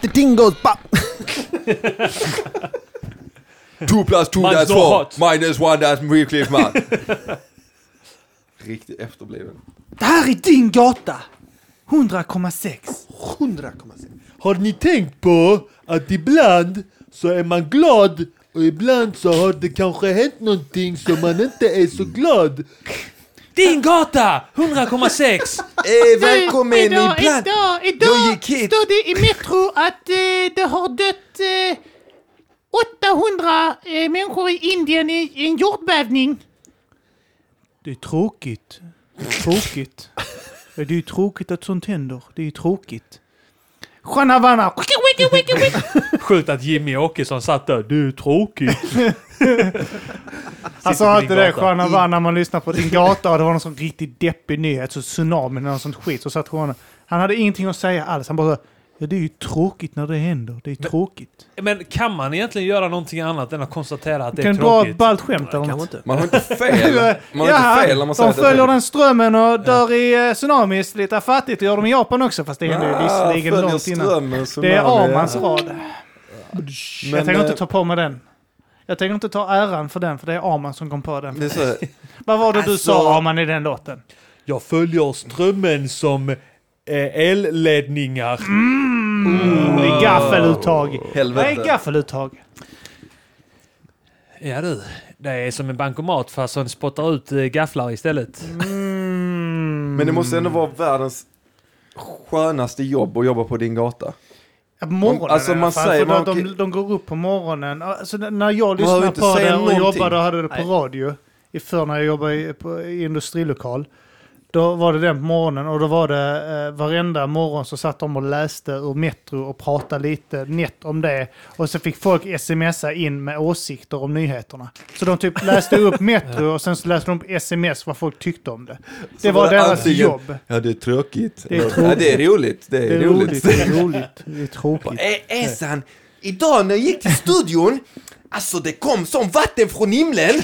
the thing goes pop. Two plus two Mine's that's not four. hot. Minus one that's Wycliffe man. Riktigt efterbliven. Det här är din gata! 100,6. 100,6. Har ni tänkt på att ibland så är man glad och ibland så har det kanske hänt någonting som man inte är så glad. Din gata! 100,6! Hey, välkommen idag, ibland. Idag, Jag idag gick hit. står det i Metro att eh, det har dött eh, 800 eh, människor i Indien i, i en jordbävning. Det är tråkigt. Tråkigt. Ja, Det är ju tråkigt att sånt händer. Det är ju tråkigt. Shanavana. Wiki, wiki, wiki. Sjukt att Jimmy Åkesson satt där. Du är tråkig. Han på sa din inte det gata. Juana när man lyssnar på din gata och det var någon sån riktigt deppig nyhet, så tsunamin eller något sånt skit. Så satt Juana, han hade ingenting att säga alls. Han bara sa, ja det är ju tråkigt när det händer. Det är tråkigt. Men kan man egentligen göra någonting annat än att konstatera att det är Kan du dra tråkigt? ett ballt skämt eller Kanske något? inte. Man har inte fel. Man har Ja, inte fel när man säger de att det är följer tråkigt. den strömmen och dör i eh, tsunamis lite fattigt. Det gör de i Japan också, fast det är ändå visserligen Ah, följer långt innan. strömmen som Det är när Armans rad. Men, jag tänker inte eh, ta på mig den. Jag tänker inte ta äran för den, för det är Arman som kom på den. Det är så här, Vad var det du Alltså- sa Arman i den låten? Jag följer strömmen som eh, elledningar. Mm. Det är gaffeluttag. Det är helvete. gaffeluttag. Ja du, det är som en bankomat fast som spottar ut eh, gafflar istället. Mm. Men det måste ändå vara världens skönaste jobb att jobba på din gata. Ja, på Morgonen Alltså, i alla man fall, säger- för man- de, de, de går upp på morgonen. Alltså, n- när jag behöver lyssnade inte på säga det och någonting. jobbade och hade det på radio, i förr när jag jobbade i, på, i industrilokal, då var det den på morgonen och då var det eh, varenda morgon så satt de och läste ur Metro och pratade lite nätt om det. Och så fick folk smsa in med åsikter om nyheterna. Så de typ läste upp Metro och sen så läste de upp sms vad folk tyckte om det. Det Så var, var det deras antingen- jobb. Ja, det är tråkigt. Det är Ja, tråkigt. det är roligt. Det är, Det är roligt. roligt, det är roligt, det är tråkigt. Ä- Äsan, idag när jag gick till studion, alltså det kom som vatten från himlen.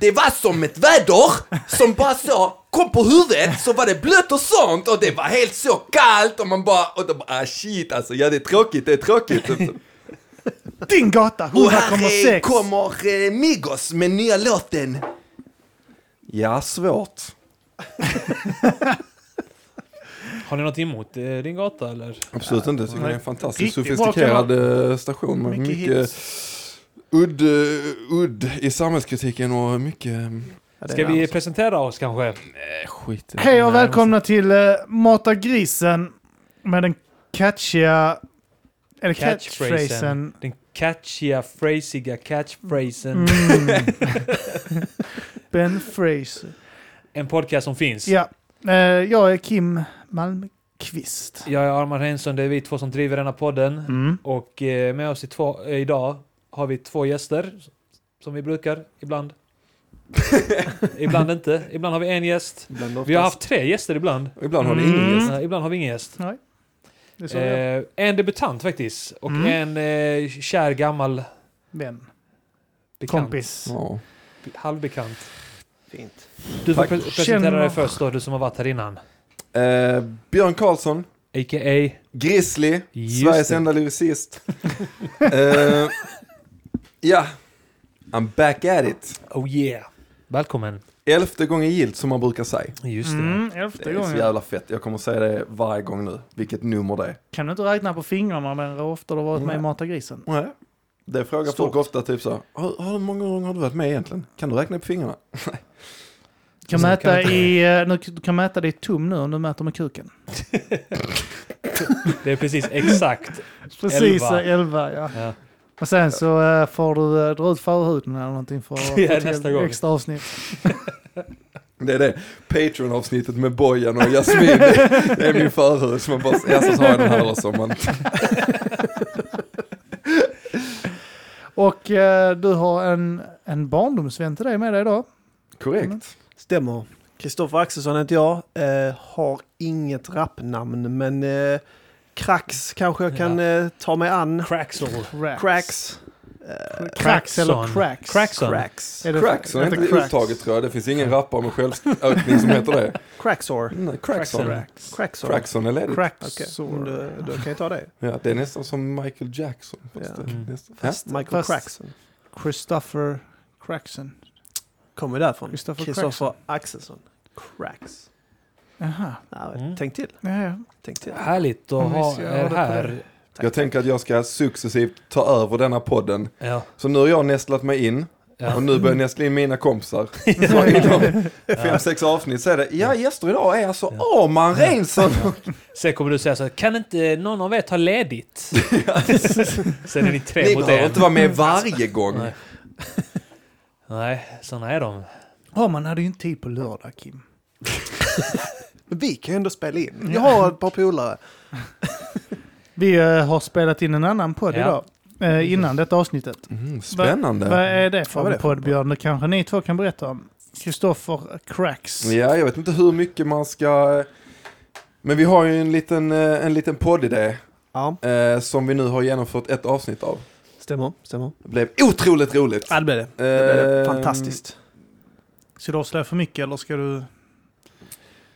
Det var som ett väder som bara så kom på huvudet så var det blött och sånt och det var helt så kallt och man bara, och då bara ah, shit alltså, ja det är tråkigt, det är tråkigt. Din gata, Och här 100,6! eh, kommer eh, Migos med nya låten. Ja, svårt. Har ni något emot eh, din gata eller? Absolut inte. Jag tycker det är en fantastiskt Riktigt bra sofistikerad eh, station med Mycket mycket, udd, eh, udd i samhällskritiken och mycket eh, Ska vi presentera oss kanske? skit. i- Hej och välkomna till eh, Mata grisen med den catchiga... Eller Catchphrasen. catchphrasen. Den catchiga, frasiga catchphrasen. Mm. ben Fraser. En podcast som finns. Ja, eh, jag är Kim Malmqvist. Jag är Armand Henson, det är vi två som driver denna podden. Mm. Och eh, med oss i två, eh, idag har vi två gäster, som vi brukar ibland. ibland inte. Ibland har vi en gäst. Ibland Vi har haft tre gäster ibland. oftast. Ibland har vi ingen gäst. Eh, ibland har vi ingen gäst. Mm. Det är så jag gör. Eh, en debutant faktiskt. Och en Mm. eh, kär gammal Vän, bekant. kompis. Ja. Halvbekant. Fint. Du får Tack. pre- presentera Känner- dig först då, du som har varit här innan. Eh, Björn Karlsson, A.k.a. Grizzly, Just Sveriges det. enda lyricist. eh, ja, I'm back at it. Oh yeah. Välkommen. Elfte gången gilt som man brukar säga. Just det. Mm, Det elfte är så gången. jävla fett. Jag kommer säga det varje gång nu, vilket nummer det är. Kan du inte räkna på fingrarna men hur ofta du har varit med i Mata grisen? Nej. Det frågar Stort. folk ofta typ så. Hur, hur många gånger har du varit med egentligen? Kan du räkna på fingrarna? Kan Sen mäta kan du- i, eh, nu, du kan mäta det i tum nu om du mäter med kuken. Det är precis exakt. Precis, Elva. elva, elva ja. Ja. Och sen så eh, får du eh, dra ut förhuden eller någonting för att få Ja, till nästa gång. extra avsnitt. Det är det. Patreon-avsnittet med Bojan och Jasmin. Det, det är min förhud. Så man bara, ja så har jag den här eller så. Man, Och eh, du har en, en barndomsvän till dig med dig idag. korrekt. Stämmer. Kristoffer Axelsson heter jag. Eh, har inget rapnamn, men eh, Krax kanske jag kan eh, ta mig an. Cracksel. Cracks. Cracks. Eh, Cracks eller Crackson. cracks? Crackson. Mm. Cracks. Crackson är inte uttaget tror jag. Det finns ingen rappare med självstökning som heter det. Cracksor. Nej, Crackson. Cracksor. Crackson är ledigt. Cracksor. Du, du kan ju ta det. Ja, det är nästan som Michael Jackson. Fast Ja. det, Mm. nästan. Ja. Fast, Michael Fast- Crackson. Christopher Crackson. Kommer därifrån. Christopher Kristoffer Axelsson. Cracks. Jaha. Ja, Mm. Tänk till. Ja, ja. Tänk till. Härligt att Mm, ha visst, jag er håller på här. Jag tänker att jag ska successivt ta över denna podden. Ja, Så nu har jag nästlat mig in ja. och nu börjar jag nästla in mina kompisar. Så inom fem, sex avsnitt så är det, ja gäster idag är alltså Arman Reinsson. Sen kommer du säga så här, kan inte någon av er ta ledigt? Sen är ni tre Ni mot behöver en. inte vara med varje gång. Nej. Nej, såna är de. Ja, man hade ju inte tid på lördag, Kim. Men vi kan ju ändå spela in. Jag har ett par polare. Vi eh, har spelat in en annan podd Ja. idag. eh, innan detta avsnittet. Mm, Vad spännande. är det Vad för är en det för podd, Björn? Det kanske ni två kan berätta om. Christopher Cracks. Ja, jag vet inte hur mycket man ska... Men vi har ju en liten, eh, en liten poddidé Ja, eh, som vi nu har genomfört ett avsnitt av. stämmer. stämmer. Det blev otroligt roligt. Ja, det blev det. det, blev det. Ehm, Eh, Fantastiskt. Ska du avslöja för mycket eller ska du...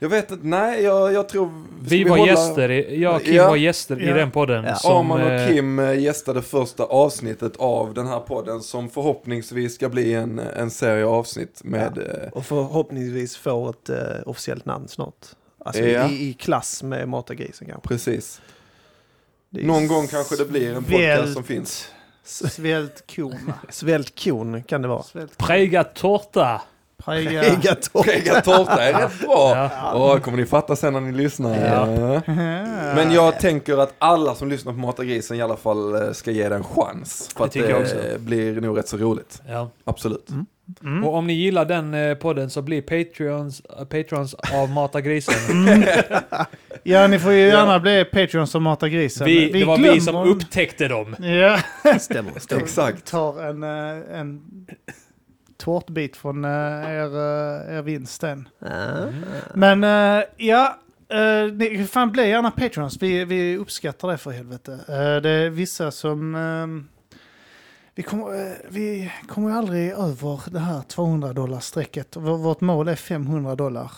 Jag vet inte, nej jag, jag tror... ska Vi var hålla- gäster, i, jag och Kim Ja. var gäster i Ja. den podden. Ja. Som, Arman och eh, Kim eh, gästade första avsnittet av den här podden som förhoppningsvis ska bli en, en serie avsnitt med... eh, Och förhoppningsvis får ett eh, officiellt namn snart. Alltså Ja. i, i klass med Mata Grisen kanske. Precis. Det är Någon gång kanske det blir en podcast Väl- som finns. s- Svältkona. Svält kon kan det vara. Svält... Präga tårta! Prega. Egator. Skägga tårta är rätt bra. Ja. Åh, kommer ni fatta sen när ni lyssnar? Ja. Men jag tänker att alla som lyssnar på Mata Grisen i alla fall eh, ska ge den en chans. För Det att tycker jag det blir nog rätt så roligt. Ja. Absolut. Mm. Och om ni gillar den eh, podden så bli Patreons, eh, patrons av Mata Grisen. Ja, ni får ju gärna bli Patreon som matar grisen. Vi, det var vi glömmer som om- upptäckte dem. Ja. Stämmer. stämmer. Exakt. Tar en, eh, en tårtbit från eh, er, eh, er vinst än. Men eh, ja, eh, ni fan bli gärna Patreons. Vi, vi uppskattar det för helvete. Eh, Det är vissa som... eh, Vi kommer, eh, vi kommer ju aldrig över det här 200 dollar strecket Vårt mål är 500 dollar.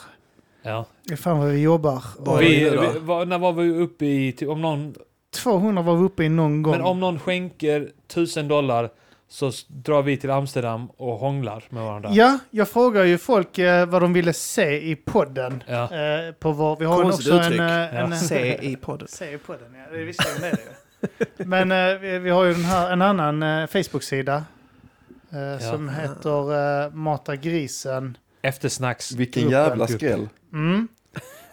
Ja. Det är fan vad vi jobbar. Vad är Vi, det då? vi, var, när var vi uppe i, till- om någon, 200 var vi uppe i någon gång. men om någon skänker tusen dollar så s- drar vi till Amsterdam och hånglar med varandra. Ja, jag frågar ju folk eh, vad de ville se i podden. Ja. Eh, på vår, vi har Konstigt också en... uttryck. eh, en Ja. Se i podden. se i podden, ja. Det visste jag med det. ju. Men eh, vi, vi har ju den här, en annan eh, Facebook-sida eh, som heter eh, Mata grisen. Eftersnacks. Vilken Gruppen. jävla skräll. Mm.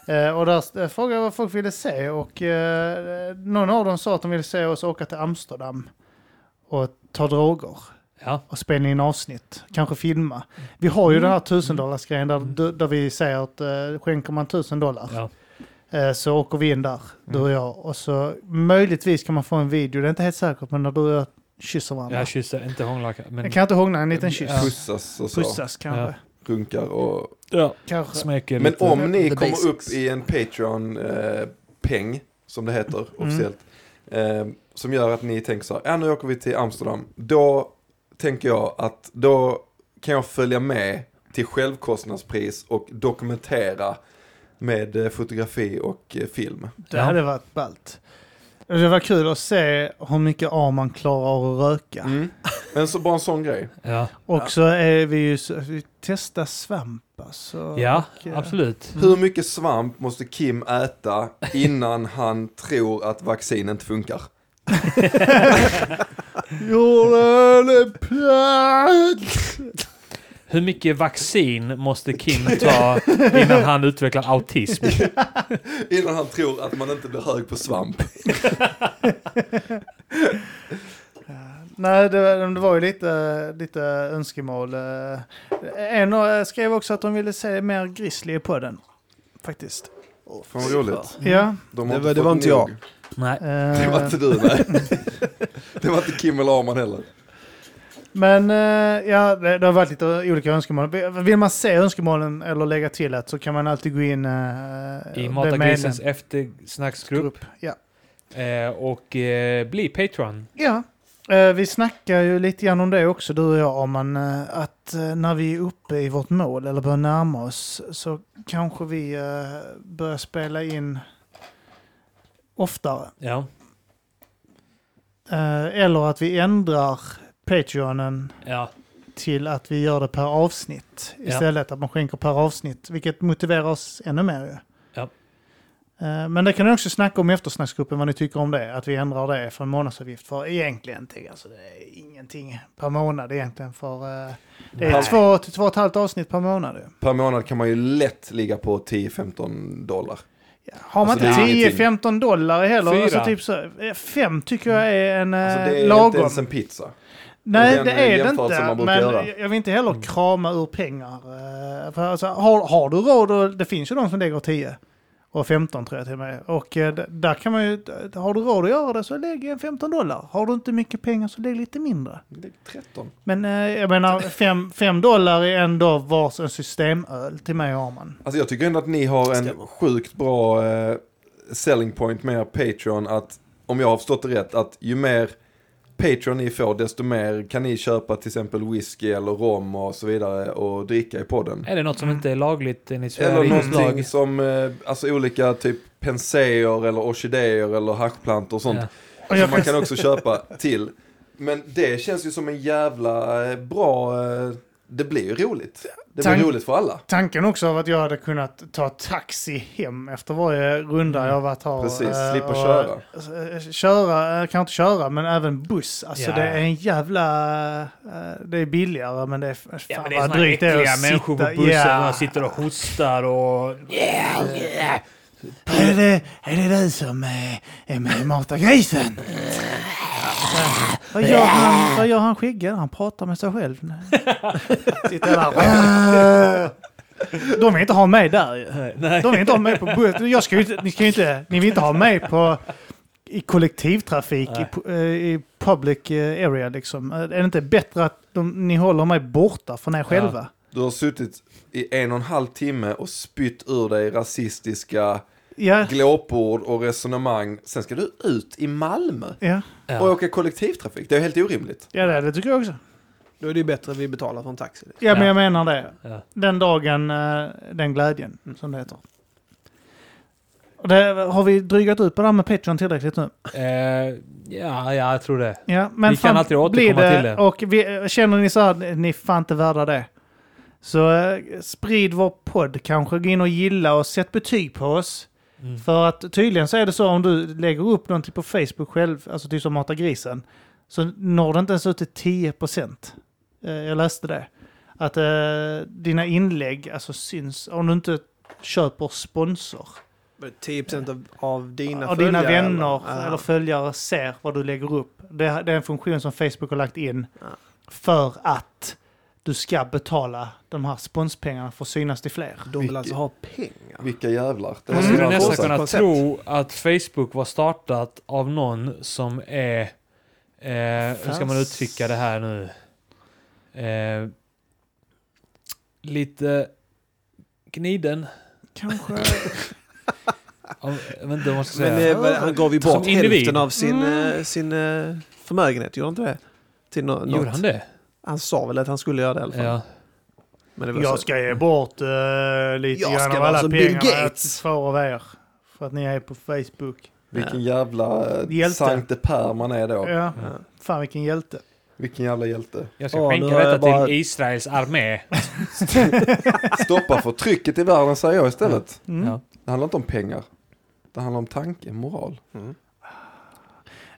Eh, och där eh, frågade jag vad folk ville se och eh, någon av dem sa att de ville se oss åka till Amsterdam och ta droger. Ja. och spela in avsnitt, kanske filma. Vi har ju Mm. den här tusendollarsgrejen där, där vi säger att eh, skänker man tusen dollar Ja. Mm. eh, så åker vi in där, du och jag. Och så möjligtvis kan man få en video, det är inte helt säkert, men när du och jag kysser varandra. Jag kysser, inte hånglar men... jag kan inte hångla, en liten kyss. Ja. Pussas och så. Pussas kanske. Ja. Runkar och... Ja, kanske. smeker Men lite. om ni The kommer basics. upp i en Patreon-peng, som det heter officiellt, eh, som gör att ni tänker så här, ja nu åker vi till Amsterdam, då tänker jag att då kan jag följa med till självkostnadspris och dokumentera med eh, fotografi och eh, film. Det Ja. hade varit ballt. Och Det var kul att se hur mycket Arman klarar av att röka. Mm. Mm. Men så bara en sån grej. Ja, Och så är vi ju så, vi testar svamp alltså. ja Och, eh, absolut. Hur mycket svamp måste Kim äta innan han tror att vaccinen inte funkar? Jorden är platt! Hur mycket vaccin måste Kim ta innan han utvecklar autism? Innan han tror att man inte blir hög på svamp. Eh, Nej, det, var- det var ju lite, lite önskemål. eh. En eh, skrev också att de ville se mer grizzly i podden. Faktiskt. Fan vad roligt. Ja. De Det har var- det var fått inte jag. nog. Nej. eh, Mm. Det var inte du nej. Det var inte Kim eller Arman heller. Men eh, ja, det, det har varit lite olika önskemål. Vill man se önskemålen eller lägga till ett så kan man alltid gå in eh, I och bli Matagrisens medlem. eftersnacksgrupp. Ja. Eh, och eh, bli Patreon. ja. Eh, Vi snackar ju lite grann om det också, du och jag, om man, eh, att eh, när vi är uppe i vårt mål eller börjar närma oss så kanske vi eh, börjar spela in oftare. Ja. Eh, Eller att vi ändrar Patreonen ja. till att vi gör det per avsnitt Ja. istället. Att man skänker per avsnitt, vilket motiverar oss ännu mer. ju. Ja. Eh, Men det kan ni också snacka om i eftersnacksgruppen, vad ni tycker om det. Att vi ändrar det från månadsavgift. För egentligen, tänk, alltså, det är ingenting per månad egentligen. För, eh, det är Nej. två till två och ett halvt avsnitt per månad. ju. Per månad kan man ju lätt ligga på 10-15 dollar. Ja, Har man Alltså, det är inte ingenting. 10-15 dollar heller? Fyra. Alltså, typ så, eh, fem tycker jag är en eh, Alltså det är inte lagom. ens en pizza. Nej, den det är det jämförelsen inte. man brukar Men göra. Mm. jag- jag vill inte heller krama ur pengar. eh, För alltså, har, har du råd, och det finns ju de som lägger 10 och 15 tror jag till och med. Och eh, d- där kan man ju, d- har du råd att göra det så lägg en 15 dollar. Har du inte mycket pengar så lägg lite mindre. Det är 13. Men eh, jag menar, 5 fem dollar är ändå vars en systemöl. Till mig har man. Alltså jag tycker ändå att ni har en sjukt bra eh, selling point med er Patreon att om jag har förstått det rätt att ju mer Patreon ni får desto mer kan ni köpa till exempel whisky eller rom och så vidare och dricka i podden. Är det något Mm. som inte är lagligt eh, enligt Eller Sveriges någonting lag? som, eh, alltså olika typ penséer eller orkidéer eller haschplantor och sånt. Ja. Och Som jag man kan, kan också köpa till. Men det känns ju som en jävla eh, bra, eh, det blir ju roligt. Det blir Tank- roligt för alla. tanken också av att jag hade kunnat ta taxi hem efter varje runda jag varit här. Mm. Precis, eh, slippa och- köra. Eh, köra, eh, kan inte köra, men även buss. Alltså Ja. det är en jävla... eh, Det är billigare, men det är fan Ja, men det är vad såna drygt det är äckliga att människor på sitta... bussen. Ja. Man sitter och hostar och... Är det, är det du som är, är med i Matar grisen? Vad gör han, vad gör han skäggig? Han pratar med sig själv. Sitter där. De vill inte ha mig där ju. Nej. De vill inte ha mig på buss. Jag ska ju inte, ni, ska ju inte, ni vill inte ha mig på, i kollektivtrafik i, pu- eh, i public eh, area liksom. Eh, Är det inte bättre att de, ni håller mig borta från er själva? Du har suttit i en och en halv timme och spytt ur dig rasistiska Ja. glåpord och resonemang. Sen ska du ut i Malmö Ja. Ja. och åka kollektivtrafik. Det är helt orimligt. ja, det, det tycker jag också. Då är det ju bättre att vi betalar för en taxi. Ja, men Ja. jag menar det. Ja. Den dagen, eh, den glädjen, som det heter. Och Det, har vi drygat ut på det här med Patreon tillräckligt nu? Eh, ja, ja, jag tror det. Ja, men Vi kan alltid återkomma blir till det. Och vi, känner ni så här, ni är fan inte värda det. Så eh, sprid vår podd kanske, gå in och gilla och sätt betyg på oss. För att tydligen så är det så om du lägger upp någonting på Facebook själv, alltså typ som Mata grisen, så når det inte ens ut till 10 procent. Eh, Jag läste det. Att eh, dina inlägg alltså syns om du inte köper sponsor. Men 10% av, av dina Av dina följare, vänner Ja. eller, följare ser vad du lägger upp. Det, det är en funktion som Facebook har lagt in Ja. för att du ska betala de här sponspengarna för att synas till fler. De vill alltså ha pengar. Vilka jävlar. Det Man var så skulle bra nästan Mm. koncept. Mm. kunna koncept. tro att Facebook var startat av någon som är... Eh, hur ska man Fast- uttrycka det här nu? Eh, lite gniden. Kanske. Av, jag vet inte vad man ska säga. Men eh, vad- han gav ju Som bort individ. hälften av sin, eh, sin eh, förmögenhet, gjorde han inte det? Till no- något. Gjorde han det? Han sa väl att han skulle göra det i alla fall. Ja. Men det var så- Jag ska ge bort eh, lite alltså- Jag grann ska av vara alla som Bill pengarna jag Gates. får av er. För att ni är på Facebook. Vilken jävla eh, Hjälte. Sankte Per man är då. Ja. Fan vilken hjälte. Vilken jävla hjälte. Jag ska Åh, nu skänka har jag detta bara- till Israels armé. Stoppa förtrycket i världen säger jag istället. Mm. Ja. Det handlar inte om pengar. Det handlar om tanke, moral.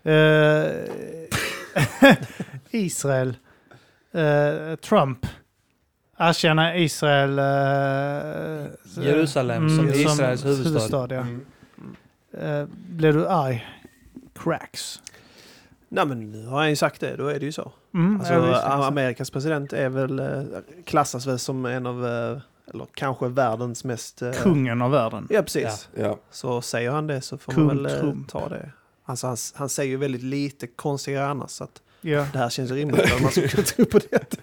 Eh, Israel. Eh, Trump. Erkänna Israel. eh, Jerusalem som Israels huvudstad. ja. Mm. Eh, blev du arg? Cracks. Nej men nu har han ju sagt det, då är det ju så. Mm, Alltså, ja, visst, Am- visst. Amerikas president är väl, eh, klassas väl som en av, eh, eller kanske världens mest... eh, Kungen av världen. Ja, precis. Ja. Ja. Så säger han det så får Kung man väl eh, Trump. ta det. Alltså han, han säger ju väldigt lite konstigare annars, så att Ja. det här känns rimligt att man skulle kunna tro på det.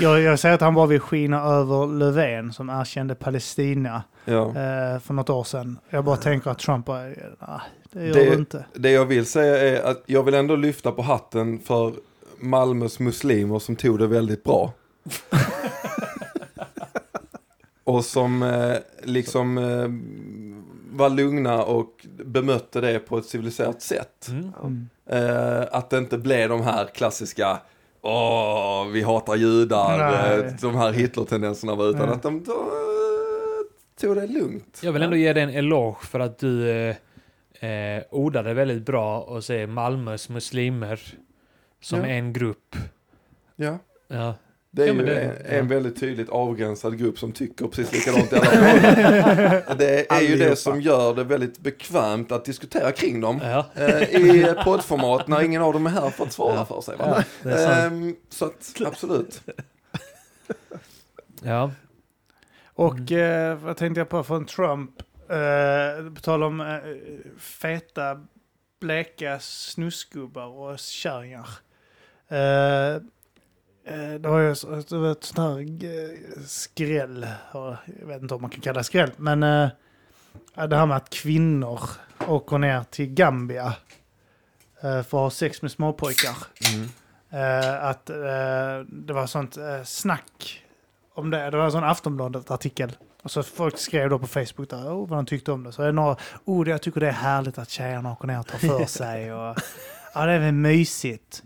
Jag, jag säger att han bara vill skina över Löfven som erkände Palestina ja. eh, för något år sedan. Jag bara tänker att Trump är, nej, det gör Det- det inte. Det jag vill säga är att jag vill ändå lyfta på hatten för Malmös muslimer som tog det väldigt bra. och som eh, liksom eh, var lugna och bemötte det på ett civiliserat sätt. Mm. Eh, att det inte blev de här klassiska Åh, vi hatar judar, Nej. eh, de här Hitler-tendenserna var utan Nej. att de, de eh, tog det lugnt. Jag vill ändå ge dig en eloge för att du eh, eh, ordade väldigt bra och säger Malmös muslimer som Ja. en grupp. Ja. Ja. Mm. Det är Ja, ju men det- en, ja. en väldigt tydligt avgränsad grupp som tycker precis likadant i alla frågor. Det är ju Allihopa. det som gör det väldigt bekvämt att diskutera kring dem Ja. eh, i poddformat när ingen av dem är här för att svara för sig. Va? Det är sant. Ehm, så att, absolut. Eh. Ja. Och eh, vad tänkte jag på från Trump? Eh, på tal om eh, feta, bleka snusgubbar och kärringar. Eh, eh, det har ju så- det var ett sånt här eh, skräll. Ja, Jag vet inte om man kan kalla det skräll. Men eh, ja, det här med att kvinnor åker ner till Gambia eh, för att ha sex med småpojkar. Mm. Eh, att eh, det var sånt eh, snack om det. Det var en sån Aftonbladet-artikel. Och så folk skrev då på Facebook där, oh, vad de tyckte om det. Så är det några, oh, det- jag tycker det är härligt att tjejerna åker ner och tar för sig. Och, ja, det är väl mysigt.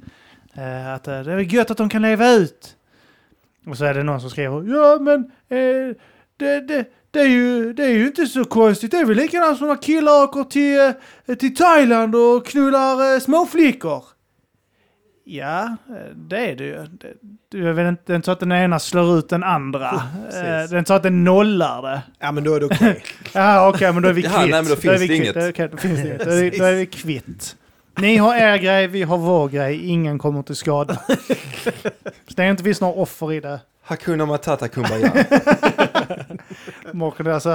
Eh, att, eh, det är väl gött att de kan leva ut. Och så är det någon som skriver, ja men eh, det, det, det, är ju, det är ju inte så konstigt. Det är väl likadant som när killar åker till, eh, till Thailand och knullar eh, småflickor. Ja, eh, det är det ju. Det, du är väl inte, det är inte så att den ena slår ut den andra. Eh, det är inte så att den nollar det. Ja, men då är det okej. Ja, okej, men då är vi Ja, kvitt. nej, men då är finns vi det kvitt. inget. Då är- okej, då finns det inget. Då är, vi- då är vi kvitt. Ni har er grej, vi har vår grej. Ingen kommer till skada. Så det är inte finns några offer i det. Hakuna Matata Kumbaya. Morgan, det är alltså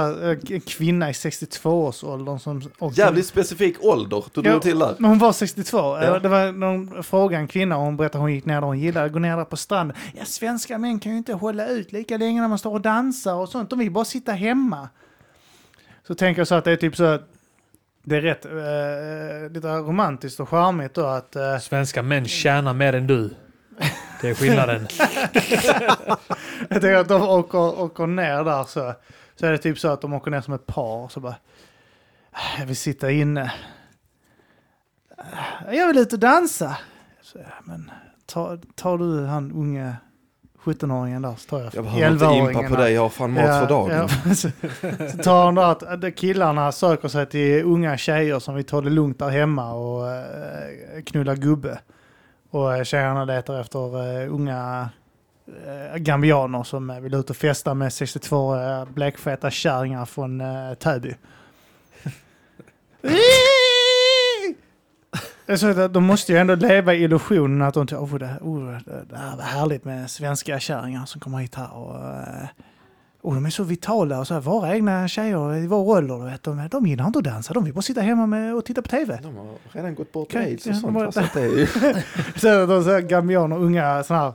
en kvinna i 62-årsåldern som... och- Jävligt specifik ålder, du Ja. drog till där. Men hon var 62. Ja. Det var någon fråga en kvinna och hon berättade hon gick ner där hon gillade att gå ner där på stranden. Ja, svenska män kan ju inte hålla ut lika länge när man står och dansar och sånt. De vill bara sitta hemma. Så tänker jag så att det är typ så att det är rätt eh, lite romantiskt och charmigt då att eh, Svenska män tjänar mer än du. Det är skillnaden. Jag tänker att de åker, åker ner där så, så är det typ så att de åker ner som ett par så bara "Ah, Jag vill sitta inne. "Ah, Jag vill ut och dansa. Så, "Ja, men ta, tar du han unge 17-åringen där så tar jag Jag behöver inte impa på dig, jag har fan mat för dagen. ja. så, så tar han då att att de killarna söker sig till unga tjejer som vill ta det lugnt där hemma och eh, knulla gubbe. Och eh, tjejerna letar efter eh, unga eh, gambianer som eh, vill ut och festa med 62-åriga blekfeta kärringar från eh, Täby. Det är så att de måste ju ändå leva i illusionen att de tycker oh, det, här- oh, det det här var härligt med svenska kärringar som kommer hit här och eh, och de är så vitala och så här, våra egna tjejer i vår ålder, du vet, de, de gillar inte att dansa, de vill bara sitta hemma med och titta på TV. De har redan gått bort i Okej, aids ja, och sånt. bara- fast alltså. att det är ju... Så de så här gambianer, unga såna här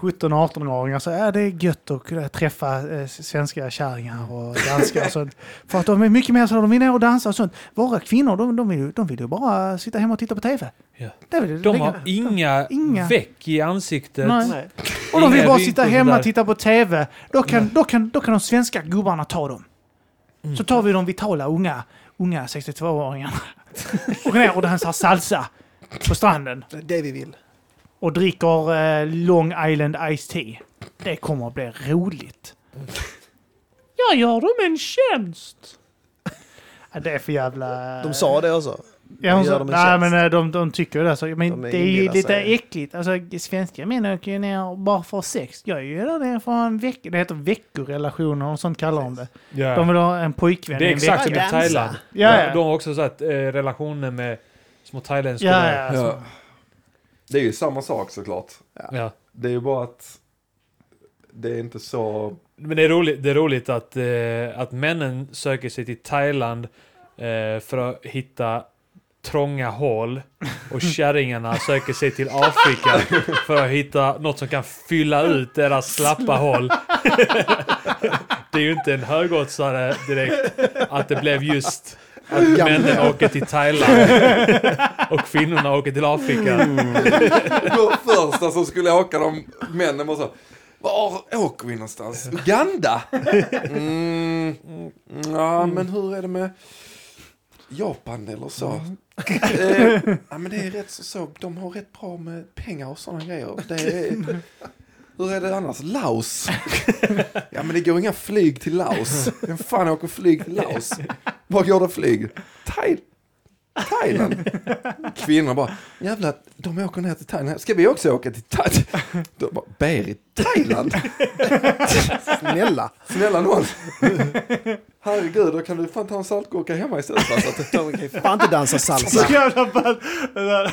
17-18-åringar, så är det är gött att kunna träffa eh, svenska kärringar och danskar och sånt. För att de är mycket mer så, de vill ner och dansa och sånt. Våra kvinnor, de, de, vill, ju- de vill ju bara sitta hemma och titta på TV. Ja. Det vill, De har inga, Inga. veck i ansiktet. Nej. Nej. Och de vill inga bara rynkor sitta och hemma sådär. och titta på TV. Då kan, då kan, då kan de svenska gubbarna ta dem. Så tar vi de vitala unga, unga 62-åringarna. och går ner och dansar salsa på stranden. Det är det vi vill. Och dricker eh, Long Island Iced Tea. Det kommer att bli roligt. Jag gör dem en tjänst. Ja, det är för jävla... De sa det också. Ja, hon gör sa, dem en nej, tjänst. men eh, de, de tycker ju det. Så, men De är det är ju inbillar lite sig. äckligt. Alltså, svenska män åker ju ner bara för sex. Jag är ju där nere för en vecka. Det heter veckorelationer och sånt kallar de det. Ja. De vill ha en pojkvän det i är en exakt som i vecka. Dansa. Thailand. Ja, De, ja. de har också så att, eh, relationer med små thailändskor. Ja, där. ja. alltså. Ja. Det är ju samma sak såklart. Ja. Det är ju bara att det är inte så... Men det är roligt, det är roligt att, eh, att männen söker sig till Thailand eh, för att hitta trånga hål och kärringarna söker sig till Afrika för att hitta något som kan fylla ut deras slappa hål. det är ju inte en högoddsare direkt att det blev just Att männen åker till Thailand och kvinnorna åker till Afrika. Mm. De första som skulle åka, de männen var så var åker vi någonstans? Uganda? Mm, ja, men hur är det med Japan eller så? Eh, ja, men det är rätt så, så, de har rätt bra med pengar och sådana grejer. Det är, hur är det annars? Laos? Ja, men det går inga flyg till Laos. Vem fan åker flyg till Laos? Var går det flyg? Thailand. Thailand. Kvinnor bara, jävlar, de åker ner till Thailand. Ska vi också åka till Thailand? De bara, Berit, Thailand? Snälla. Snälla någon. Herregud, då kan du fan ta en saltgurka hemma istället. Alltså. De kan ju fan inte dansa Så salsa. jävla ballt. Det där,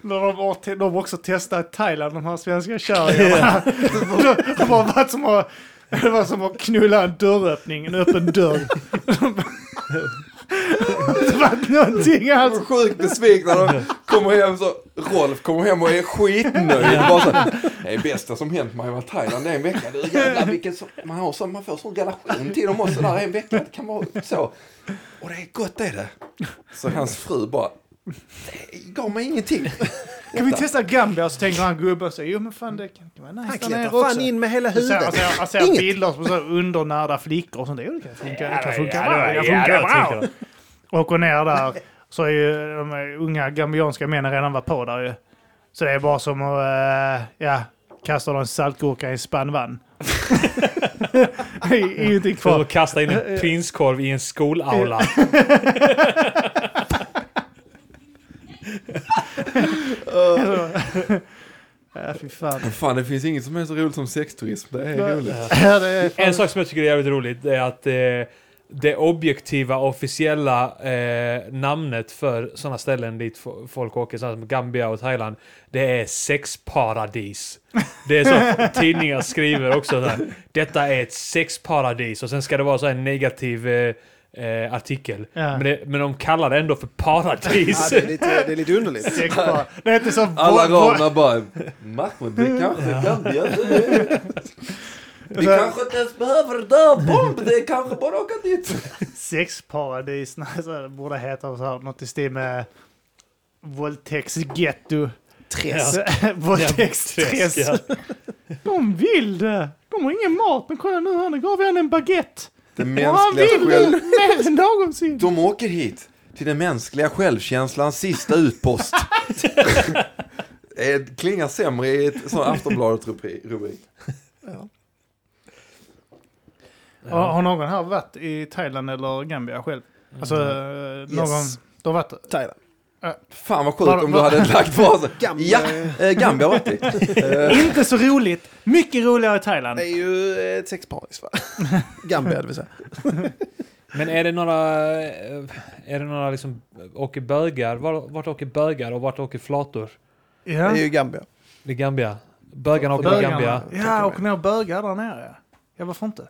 När de, har te- de också testat Thailand, de här svenska kärringarna. Det- Det var bara som att, det var som att knulla en dörröppning, en öppen dörr. Det var någonting De är alls. sjukt besvikna. De kommer hem så, Rolf kommer hem och är skitnöjd. Bara så, här, det är bästa som hänt mig var Thailand det är en vecka. Du jävlar vilken så, man, har så, man får sån relation till dem också där en vecka. Det kan vara så. Och det är gott det är det. Så hans fru bara, det gav mig ingenting. Kan vi testa Gambia? Och så tänker han gubben så, jo men fan det kan kan vara nice Han där nere klättrar också. fan in med hela Så här, huvudet. alltså, jag- alltså, jag bilder som så här undernärda flickor och sånt. Jo, det kan funka. Det kan funka bra. Det kan funka bra. Åker ner där så är ju de här unga gambianska männen redan varit på där ju. Så det är bara som att eh, ja, kasta en saltgurka i en spannvann. Det är Ingenting För kvar. att kasta in en prinskorv i en skolaula. Ja, fy fan. Fan det finns inget som är så roligt som sexturism. Det är roligt. Ja, det är fan. En sak som jag tycker är jävligt roligt är att eh, det objektiva officiella eh, namnet för sådana ställen dit fo- folk åker, sådana som Gambia och Thailand, det är sexparadis. Det är så tidningar skriver också. Så här, Detta är ett sexparadis och sen ska det vara så här en negativ eh, eh, artikel. Ja. Men, det, men de kallar det ändå för paradis. Ja, det, är lite, det är lite underligt. Sex bara. Det är inte så... Alla vå- vå- raderna bara, Mahmoud det kanske kan vi göra. Vi kanske inte ens behöver dödbomb, det är kanske bara åka dit. Sexparadis, nej, så här, det borde heta så här, något i stil med våldtäktsgetto. Träsk. Våldtäktsträsk. Ja. De vill det! De har ingen mat, men kolla nu här, nu gav vi henne en baguette. Den Och han mänskliga vill själv... nu mer än någonsin! De åker hit till den mänskliga självkänslans sista utpost. Eh, Klingar sämre i ett sån Aftonbladet-rubrik. Har, har någon här varit i Thailand eller Gambia själv? Alltså, eh, någon... Yes. Du har varit där? Thailand. Fan vad sjukt om du Var- hade lagt på så. Gamla- Ja, eh, Gambia var det. Eh, Inte så roligt! Mycket roligare i Thailand! Det är ju ett sexparadis va? Gambia det vill säga. Men är det några, eh, är det några liksom, åker bögar? Var- Vart åker bögar och vart åker flator? Det Ja, är ju Gambia. Det är Gambia. Bögarna åker till Bögarna. Gambia. ja åker ner och bögar där nere. Ja, varför inte?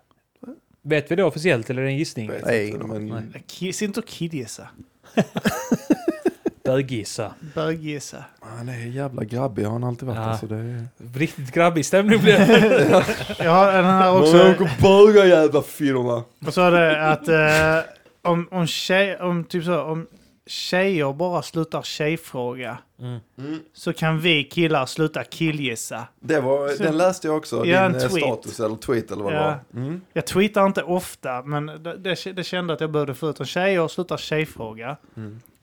Vet vi det officiellt eller är det en gissning? Nej, Nej. men Kiss inte och killgissa. Böggissa. Böggissa. han är jävla grabbig, har han alltid varit. Ja. Alltså, det är... Riktigt grabbig stämning blev det. Jag har den här Man också. åker bögar jävla firma. Och så är det att eh, om, om, tjej, om, typ så, om tjejer bara slutar tjejfråga Mm. så kan vi killar sluta killgissa. Det var, Så- den läste jag också, Ja, din en eh, tweet. status eller tweet eller vad Ja. det var. Mm. Jag tweetar inte ofta, men det, det, det kände att jag behövde få ut. Om tjejer slutar tjejfråga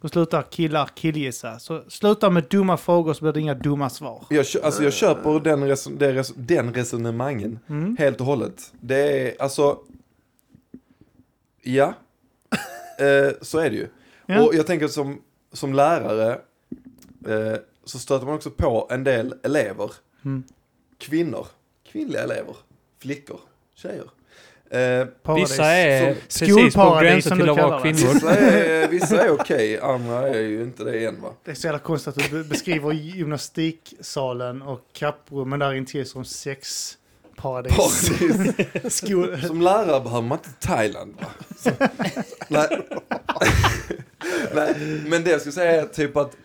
och slutar killar killgissa. Så sluta med dumma frågor så blir det inga dumma svar. Jag, kö- alltså jag köper den, reson, den, reson, den resonemangen Mm. helt och hållet. Det är alltså... Ja, eh, så är det ju. Ja. Och jag tänker som, som lärare eh, så stöter man också på en del elever. Mm. Kvinnor, kvinnliga elever, flickor, tjejer. Eh, Paradis. Vissa är Som precis på skolparadis, gränsen som till du att vara kallar det. kvinnor. vissa är, vissa är okej, andra är ju inte det än va. Det är så jävla konstigt att du be- beskriver gymnastiksalen och kapprummen där intill som sexparadis. Paradis. Skol- Som lärare behöver man inte Thailand va? Så, nej. nej, men det jag skulle säga är typ att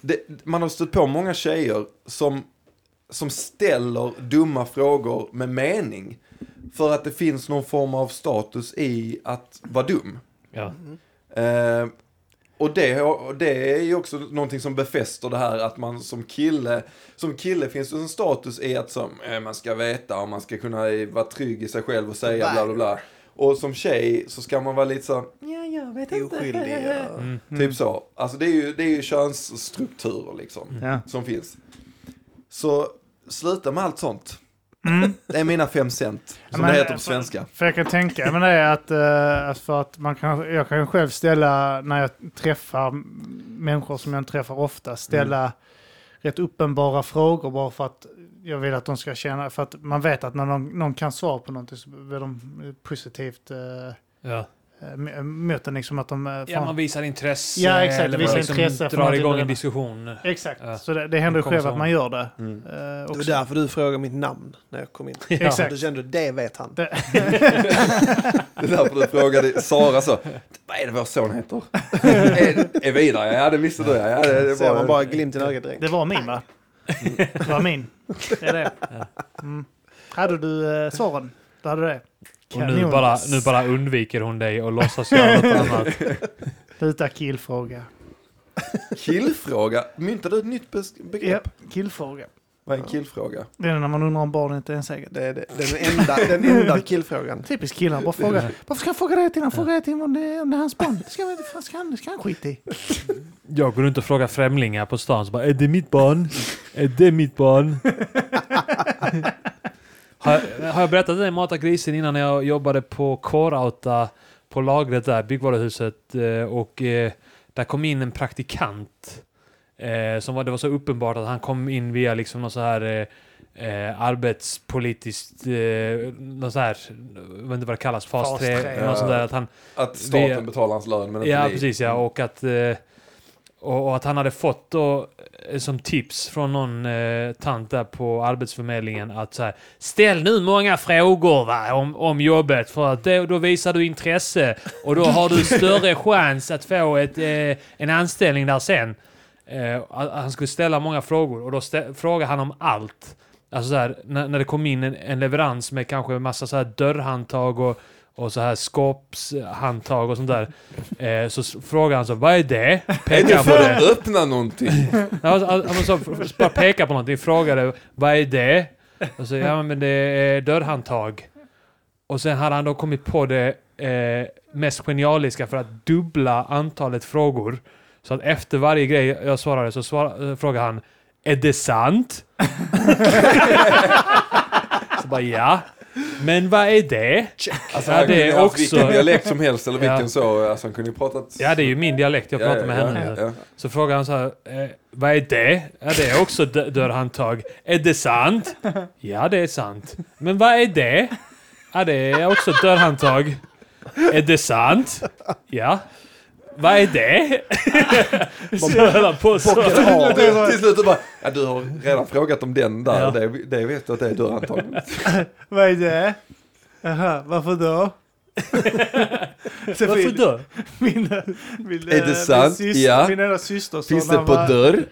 det, man har stött på många tjejer som, som ställer dumma frågor med mening. För att det finns någon form av status i att vara dum. Ja. Eh, Eh, och det, och det är ju också någonting som befäster det här att man som kille, som kille finns det en status i att som, eh, man ska veta och man ska kunna eh, vara trygg i sig själv och säga bla bla bla. Och som tjej så ska man vara lite så Oskyldig. ja. Mm. typ så. Alltså det är ju, det är ju könsstrukturer liksom Ja. som finns. Så sluta med allt sånt. Mm. Det är mina fem cent, som men- det heter på svenska. För jag kan tänka men det är att, eh, att, för att man kan, jag kan själv ställa, när jag träffar människor som jag inte träffar ofta, ställa Mm. rätt uppenbara frågor bara för att jag vill att de ska känna, för att man vet att när någon, någon kan svara på någonting så blir de positivt eh, Ja. eh, möten liksom att de... eh, ja, fan- man visar intresse. Ja, exakt, eller visa man liksom intresse för drar någonting igång med en det. diskussion. Exakt, Ja. så det, det händer Det ju kommer själv att så. man gör det. Mm. eh, Det var också. därför du frågade mitt namn när jag kom in. Ja. Exakt. Du kände, det vet han. Det är därför du frågade Sara så. Vad är det vår son heter? är, är vidare? Ja, det visste du ja. ja det, det Ser var, man bara glimt i ögat direkt. Det var min va? Mm. Det var min. Det är det. Mm. Hade du eh, svaren? Då hade du det. Och nu bara, nu bara undviker hon dig och låtsas göra något annat. Luta killfråga. Killfråga? Myntar du ett nytt bes- begrepp? Japp, killfråga. Vad är en killfråga? Det är när man undrar om barnet inte är ens eget. Det är det, den, enda, den enda killfrågan. Typiskt killar, bara fråga. Varför ska jag fråga det till honom? Fråga det till honom om det, om det är hans barn. Det ska, det fan ska, han, det ska han skita i. Jag går runt och frågar främlingar på stan. Så bara, är det mitt barn? Är det mitt barn? har, har jag berättat att jag matade grisen innan när jag jobbade på K-Rauta på lagret där, byggvaruhuset. eh, Och eh, där kom in en praktikant. eh, Som var, det var så uppenbart att han kom in via liksom någon så här eh, eh, arbetspolitiskt, eh, någon så här, jag vet inte vad det kallas, fas Fas 3, tre. något sånt där. Att han, Att staten Det- betalar hans lön men inte Ja, vi. precis ja. Och att, eh, och, och att han hade fått då, eh, som tips från någon eh, tant där på Arbetsförmedlingen att så här, ställ nu många frågor va, om, om jobbet för att det, då visar du intresse och då har du större chans att få ett, eh, en anställning där sen. Eh, att- att han skulle ställa många frågor och då stä- frågade han om allt. Alltså så här, när, när det kom in en, en leverans med kanske en massa så här dörrhandtag och, och så här skåpshandtag och sånt där. Eh, så s- frågade han så vad är det? Är Pekade det han på för det. att öppna någonting? Han, han, han alltså, så, bara pekade på någonting, frågade vad är det? Och så, ja men det är dörrhandtag. Och sen hade han då kommit på det eh, mest genialiska för att dubbla antalet frågor. Så att efter varje grej jag svarade så svar, eh, frågade han Är det sant? så bara ja. Men vad är det? Alltså, Ja, han det kunde är ju haft också- vilken dialekt som helst eller vilken Ja. så. Alltså, han kunde ju pratat... Ja det är ju min dialekt, jag pratar ja, med ja, henne nu. ja. Så frågar han så här, eh, vad är det? Ja, det är också dö- dörrhandtag. Är det sant? Ja, det är sant. Men vad är det? Ja, det är också dörrhandtag. Är det sant? Ja. Vad är det? så höll han på så. Ja, det- Till slut bara, ja, du har redan frågat om den där, Ja. det, det vet du att det är dörrhandtaget. Vad är det? Jaha, varför då? Varför då? Min, min, Är det eh, sant? Min, syster, Ja. min enda syster sa Finns när det han på var- dörr?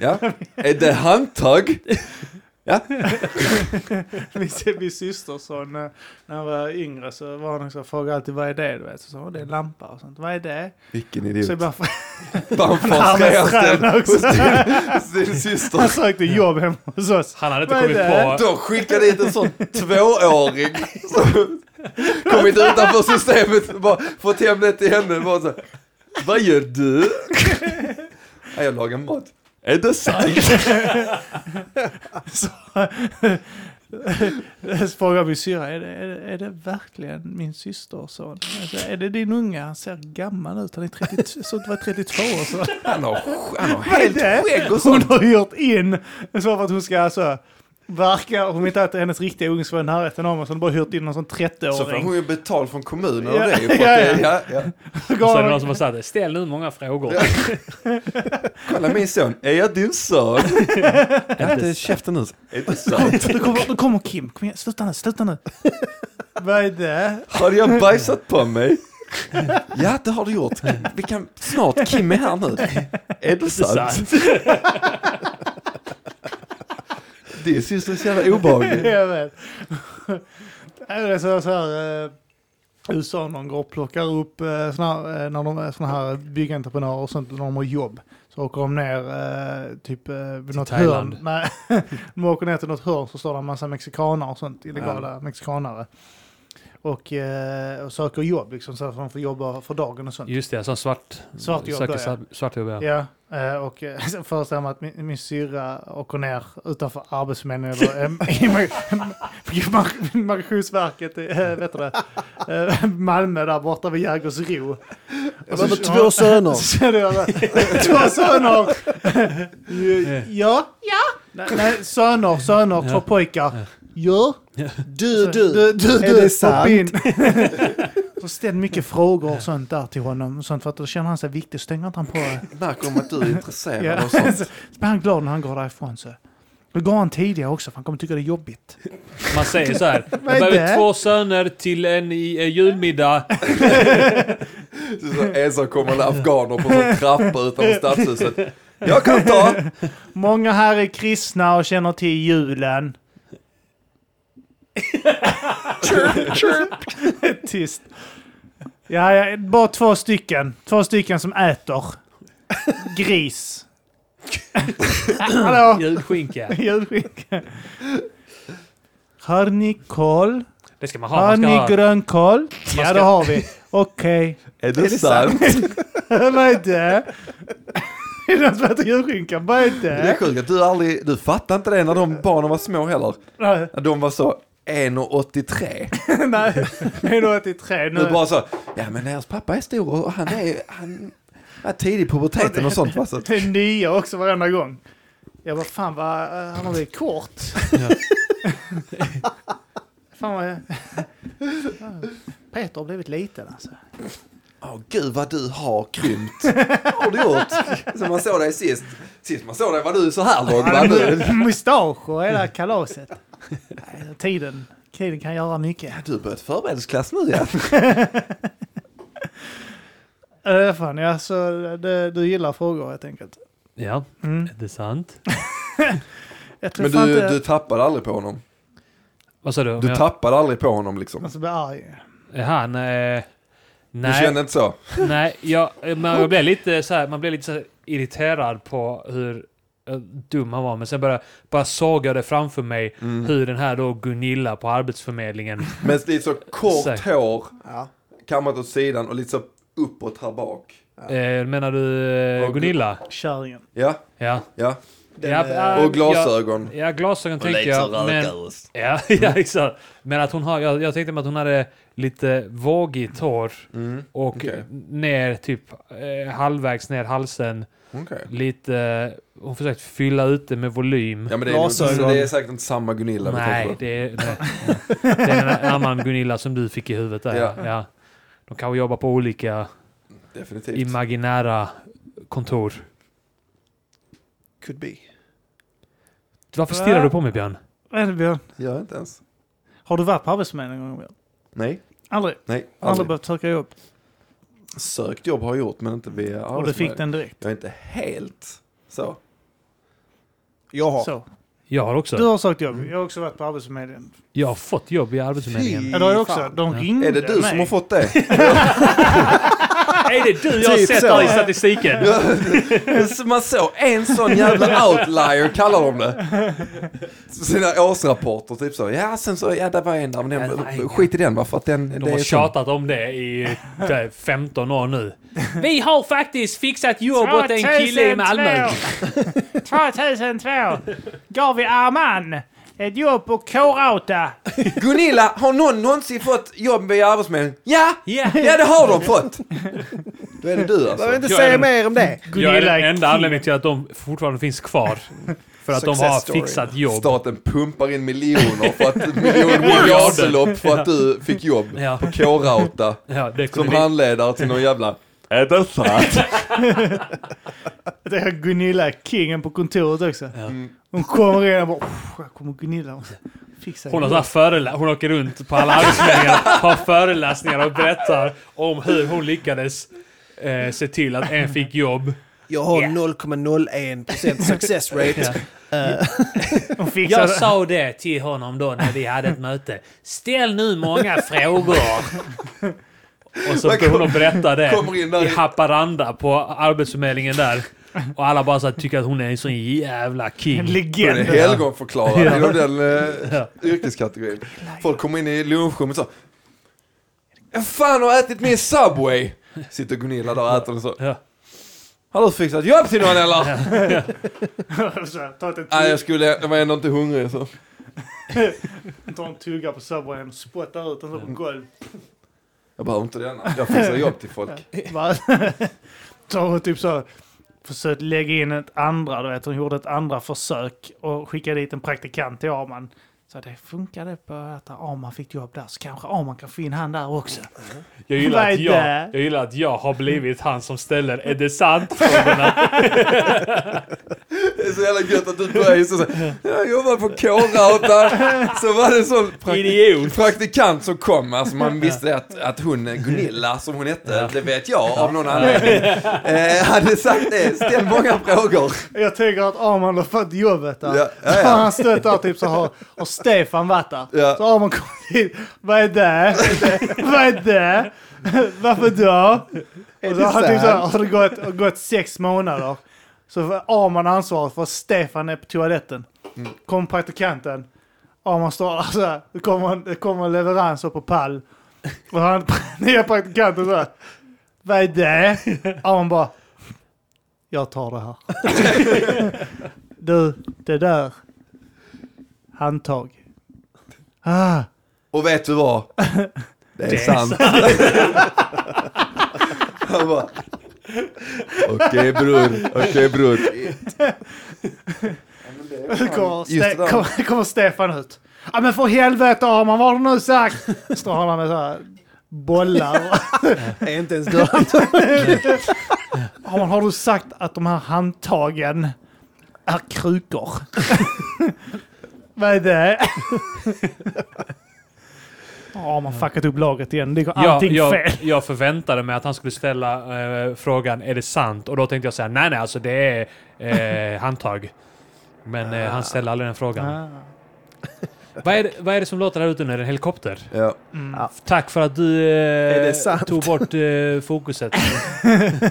Ja. Är det handtag? Min, min systerson, när när han var yngre, så var han också och frågade alltid vad är det? Du vet, så sa hon det är en lampa och sånt. Vad är det? Vilken Så idiot. jag bara, Bamforsträsten Armesträna också. hos sin, sin han syster. sökte jobb hemma hos oss. Han hade inte Vad är kommit det? på... De skickade dit en sån tvååring som kommit utanför systemet och bara fått hem det till henne. Bara så, här, Vad gör du? Ja, jag lagar mat. Är det sant? Så frågade min syrra, är det, är, det, är det verkligen min systerson? Alltså, är det din unga? Han ser gammal ut, han är 30, så det var 32 år. Så. Han har, han har Vad är helt det? skägg och Hon sånt. har gjort in, så för att hon ska alltså verka, om inte att hennes riktiga unge ska vara i närheten av mig, så hon bara hyrt in någon sån Så får 30-åring. hon ju betalt från kommunen och Ja, det. är ju för att ja, det- ja. ja, ja. Och så är det någon som har sagt ställ nu många frågor. Kolla min son, är jag din son? Jag inte käften ut. Är det sant? Nu kommer, nu kommer Kim, kom igen, sluta nu, sluta nu. Vad är det? Har jag bajsat på mig? Ja, det har du gjort. Vi kan snart, Kim är här nu. Är det sant? Det syns så jävla obehagligt. Jag vet. Nej, men Det är så, så här, eh, USA någon går och plockar upp eh, såna här, eh, när de är såna här byggentreprenörer och sånt när de har jobb. Så åker de ner eh, typ eh, vid något Thailand. hörn. Nej, de åker ner till något hörn så står det en massa mexikaner och sånt, illegala mexikanare. Och, eh, och söker jobb liksom så att de får jobba för dagen och sånt. Just det, alltså svart... Svart jobb, söker ja. svart- svart jobb, ja. Ja, eh, och eh, sen föreställer jag mig att min, min syrra åker ner utanför Arbetsförmedlingen eller eh, Migra- Migrationsverket, eh, vet du det, Eh, Malmö där borta vid Jägersro. Jag behöver Alltså, två söner. Så ser jag det. Två söner! Ja? Ja? Nej, nej, söner, söner, två Ja. pojkar. Ja? Du, Alltså, du. du, du, Är det du sant? hopp in. Så ställ mycket frågor och sånt där till honom, sånt, för att då känner han sig viktig, stänger inte han på Märker de att du är intresserad Ja. och sånt. Så blir han glad när han går därifrån. Så. Då går han tidigare också, för han kommer tycka det är jobbigt. Man säger så här. Jag är behöver det? två söner till en i, eh, julmiddag. Det är så Ensamkommande afghaner på en sån trappa utanför stadshuset. Jag kan ta! Många här är kristna och känner till julen. Tyst. Ja, ja, bara två stycken. Två stycken som äter. Gris. Hallå? Julskinka. Julskinka. Har ni koll? Det ska man ha. Har Man ska ni ha. grönkål? Ja, ska- det har vi. Okej. Är det, sant? Vad är det? Är det någon som äter julskinka? Vad är Det är det? sjukt att du aldrig, du fattade inte det när de barnen var små heller. Nej, När De var så 1,83. nej. Det är nog 83 Du nu. bara så, ja men deras pappa är stor och han är, han var tidig i puberteten och sånt. Va? Så, Det är nya också varenda gång. Jag bara, fan vad, eh, han har blivit kort. fan vad... Peter har blivit liten alltså. åh gud vad du har krympt. Vad har du gjort? Så man såg dig sist. Sist man såg dig var du så här lång. Va? Nu, Mustasch och hela kalaset. Nej, Tiden. Tiden kan göra mycket. du har börjat förberedelseklass nu ja. Äh, fan, ja, så det, du gillar frågor helt enkelt. Ja, Mm. är det sant? Jag tror Men fan du, inte- du tappade aldrig på honom. Vad sa du? Du tappade aldrig på honom liksom. Alltså blir arg. Han... Eh, Du nej, kände inte så. nej jag, man, blev lite så här, man blev lite så här irriterad på hur eh, dum han var. Men sen bara, bara såg jag det framför mig Mm. hur den här då Gunilla på Arbetsförmedlingen Men lite så kort Säkert. hår, Ja. kammat åt sidan och lite så uppåt här bak. Eh, menar du eh, Och- Gunilla? Kärringen. Ja, Ja. ja. ja, ja, Och glasögon. Ja, ja glasögon tänker jag. Men, ja, ja, exakt. Men att hon har, jag, jag tänkte mig att hon hade lite vågigt hår Mm, och okej. ner typ eh, halvvägs ner halsen. okej. Lite, eh, hon försökt fylla ut det med volym. Ja men det är, nog, så Glasögon. det är säkert inte samma Gunilla vi tänker nej, på. det är, nej, nej. det är en annan Gunilla som du fick i huvudet där. Ja. Ja. De kanske jobbar på olika Definitivt. imaginära kontor. Could be. Varför Va? stirrar du på mig Björn? Vad är det Björn? Gör inte ens. Har du varit på Arbetsförmedlingen någon gång Björn? Nej, Aldrig. nej. Aldrig Aldrig. behövt söka jobb. Sökt jobb har jag gjort men inte via Och du fick Arbetsförmedlingen. den direkt. Jag är inte helt så. Jag har. Så. Jag har också. Du har sökt jobb. Mm. Jag har också varit på Arbetsförmedlingen. Jag har fått jobb i Arbetsförmedlingen. Fy Ja, det har jag också. fan. De Ja. ringde Är det du mig. som har fått det? Är det du jag har Typ sett så. där i statistiken? Man såg en sån jävla outlier kallar de det. Sina årsrapporter typ så. Ja sen så, ja där var en där men Ja, nej. den, skit i den va för att den, De det har är sån. tjatat om det i eh, 15 år nu. Vi har faktiskt fixat jobb åt en kille i Malmö. 2002 gav vi Arman ett jobb på K-Rauta. Gunilla, har någon någonsin fått jobb via Arbetsförmedlingen? Ja! Ja. Ja, det har de fått! Då är det du alltså. Behöver inte Jag är säga den- mer om det. Jag är Gunilla den är enda anledningen till att de fortfarande finns kvar. För att de Success har story. fixat jobb. Staten pumpar in miljoner för att miljon miljardbelopp för att du fick jobb Ja. på K-Rauta Ja, det som kunde vi... handledare till någon jävla... Är det sant? Det är Gunilla kingen på kontoret också. Ja. Mm. Hon kommer in och bara "Pff, här kommer Gunilla. Hon fixar Hon, har jobb." så här förelä- hon åker runt på alla arbetsförmedlingar, har föreläsningar och berättar om hur hon lyckades eh, se till att en fick jobb. Jag har Ja. 0,01% success rate. Hon fixar Jag det. sa det till honom då när vi hade ett möte. Ställ nu många frågor. Och så började hon och berätta det kommer in där i i- Haparanda på arbetsförmedlingen där. Och alla bara så här, tycker att hon är en sån jävla En king. Hon är legend. helgonförklarad Ja. inom den eh, yrkeskategorin. Folk kommer in i lunchrummet så. "Vem Fan har ätit min Subway? Sitter Gunilla där och äter den så. Ja. Har du fixat jobb till någon eller? Så här, Ta ett- Nej jag skulle, jag var ändå inte hungrig så. tar en tugga på Subwayen och spottar ut den Mm. så på golvet. Jag behöver inte denna. Jag fixar jobb till folk. Va? Tar hon typ så här, försökt lägga in ett andra, du vet, hon gjorde ett andra försök och skickade dit en praktikant till Arman. Så det funkade på att Arman fick jobb där, så kanske Arman kan få in han där också. Jag gillar, att Vad är jag, det? jag gillar att jag har blivit han som ställer är det sant frågorna. Det är så jävla gött att du börjar just så. här, Jag jobbade på K-Rauta. Så var det en sån praktik- Idiot. praktikant som kom. Alltså man visste att, att hon, eh, Gunilla som hon hette, det vet jag av någon anledning. Eh, hade sagt det, ställ många frågor. Jag tänker att Arman har fått jobbet där. Ja, ja, ja. Så har han stött där typ så har, och Stefan varit där. Ja. Så Arman kom dit. Vad är det? Vad är det? Varför då? Och så det har, han typ så här, sant? har det gått, har gått sex månader. Så var Arman ansvarig för att Stefan är på toaletten. Mm. Kom praktikanten. Arman står där så här. Det kommer, en- det kommer en leverans upp på pall. Och han, nya praktikanten så här. Vad är det? Arman bara. Jag tar det här. Du, det där. Handtag. Ah, Och vet du vad? Det är Det är sant. Han bara... Okej bror, okej bror. nu kommer, Just det Ste- där. kommer, kommer Stefan ut. Ja ah, men för helvete Arman, vad har du nu sagt? Står han där med så här bollar. är inte ens död. Arman, har du sagt att de här handtagen är krukor? vad är det? Arman man fuckat upp laget igen. Det går Jag, allting jag, fel. jag förväntade mig att han skulle ställa eh, frågan är det sant? Och då tänkte jag säga nej nej alltså det är eh, handtag. Men eh, han ställde aldrig den frågan. Ah. Vad är, det, vad är det som låter där ute nu? Är det en helikopter? Ja. Mm. Tack för att du eh, Är det sant? tog bort eh, fokuset.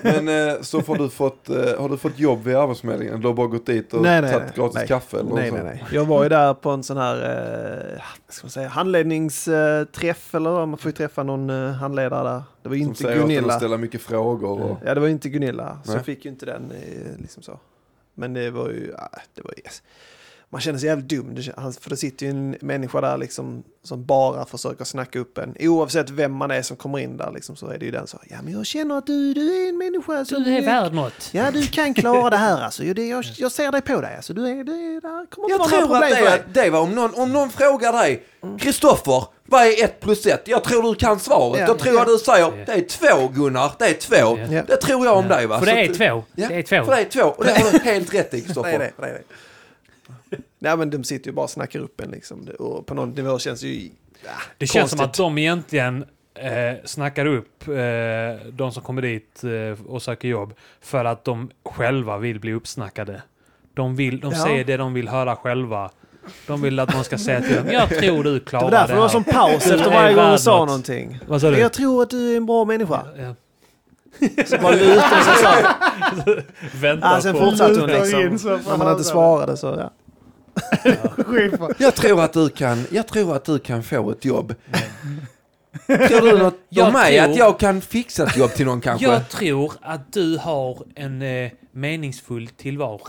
Men eh, så får du fått, eh, har du fått jobb vid Arbetsförmedlingen? Du har bara gått dit och Nej, nej, tagit nej. gratis Nej. kaffe? Eller Nej, så? nej, nej. Jag var ju där på en sån här eh, vad ska man säga, handledningsträff eller vad, man får ju träffa någon eh, handledare där. Det var ju Som inte säger att de Gunilla. ställer mycket frågor. Och, Ja, det var ju inte Gunilla. Så Nej. jag fick ju inte den eh, liksom så. Men det var ju, ah, det var ju yes. Man känner sig jävligt dum. Det kän- han- För det sitter ju en människa där liksom som bara försöker snacka upp en. Oavsett vem man är som kommer in där liksom så är det ju den så. Ja men jag känner att du, du Alltså, är en människa som... något. Ja, du kan klara det här alltså. Jag, det- jag, jag ser dig på dig alltså. Du är, det, det här kommer inte Jag vara några tror att problem det för dig. är, det var om någon, om någon frågar dig, Kristoffer, vad är ett plus ett? Jag tror du kan svaret. Ja. Jag tror att du säger, det är två Gunnar, det är två. Ja. Ja. Det tror jag om dig va? För det Så är att- två. Ja, Det är två. För det är två, och det har du helt rätt i Nej, Kristoffer. nej, nej, nej. Nej, men de sitter ju bara och snackar upp en liksom. Det- Och på någon nivå känns det ju... Ja, Det känns som att de egentligen eh, snackar upp eh, de som kommer dit eh, och söker jobb för att de själva vill bli uppsnackade. De, vill, de Ja. säger det de vill höra själva. De vill att man ska säga till dem, jag tror du Det klarar var det, därför det var här. som paus Du efter är varje gång du värd sa något. någonting. Vad sa du? Jag tror att du är en bra människa. Ja. Så bara lutade sig så. här. Vänta Ja, sen på... fortsatte hon Lutar in liksom. så När man inte svarade så, ja. Skitbra. Jag tror att du kan, jag tror att du kan få ett jobb. Tror du något Jag om mig? tror- Att jag kan fixa ett jobb till någon kanske? Jag tror att du har en eh, meningsfull tillvaro.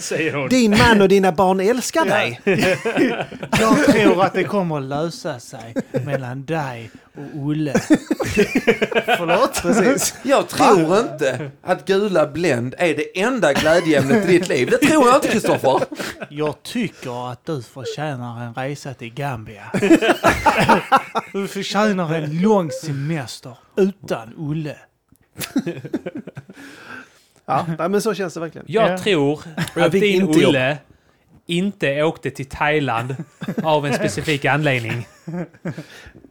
Säger hon. Din man och dina barn älskar dig. Jag tror att det kommer att lösa sig mellan dig och Olle. Förlåt? Precis. Jag tror inte att gula Blend är det enda glädjeämnet i ditt liv. Det tror jag inte Kristoffer. Jag tycker att du förtjänar en resa till Gambia. Du förtjänar en lång semester utan Olle. Ja, nej, men så känns det verkligen. Jag Ja. tror jag att fick din inte jobb. Olle inte åkte till Thailand av en specifik anledning.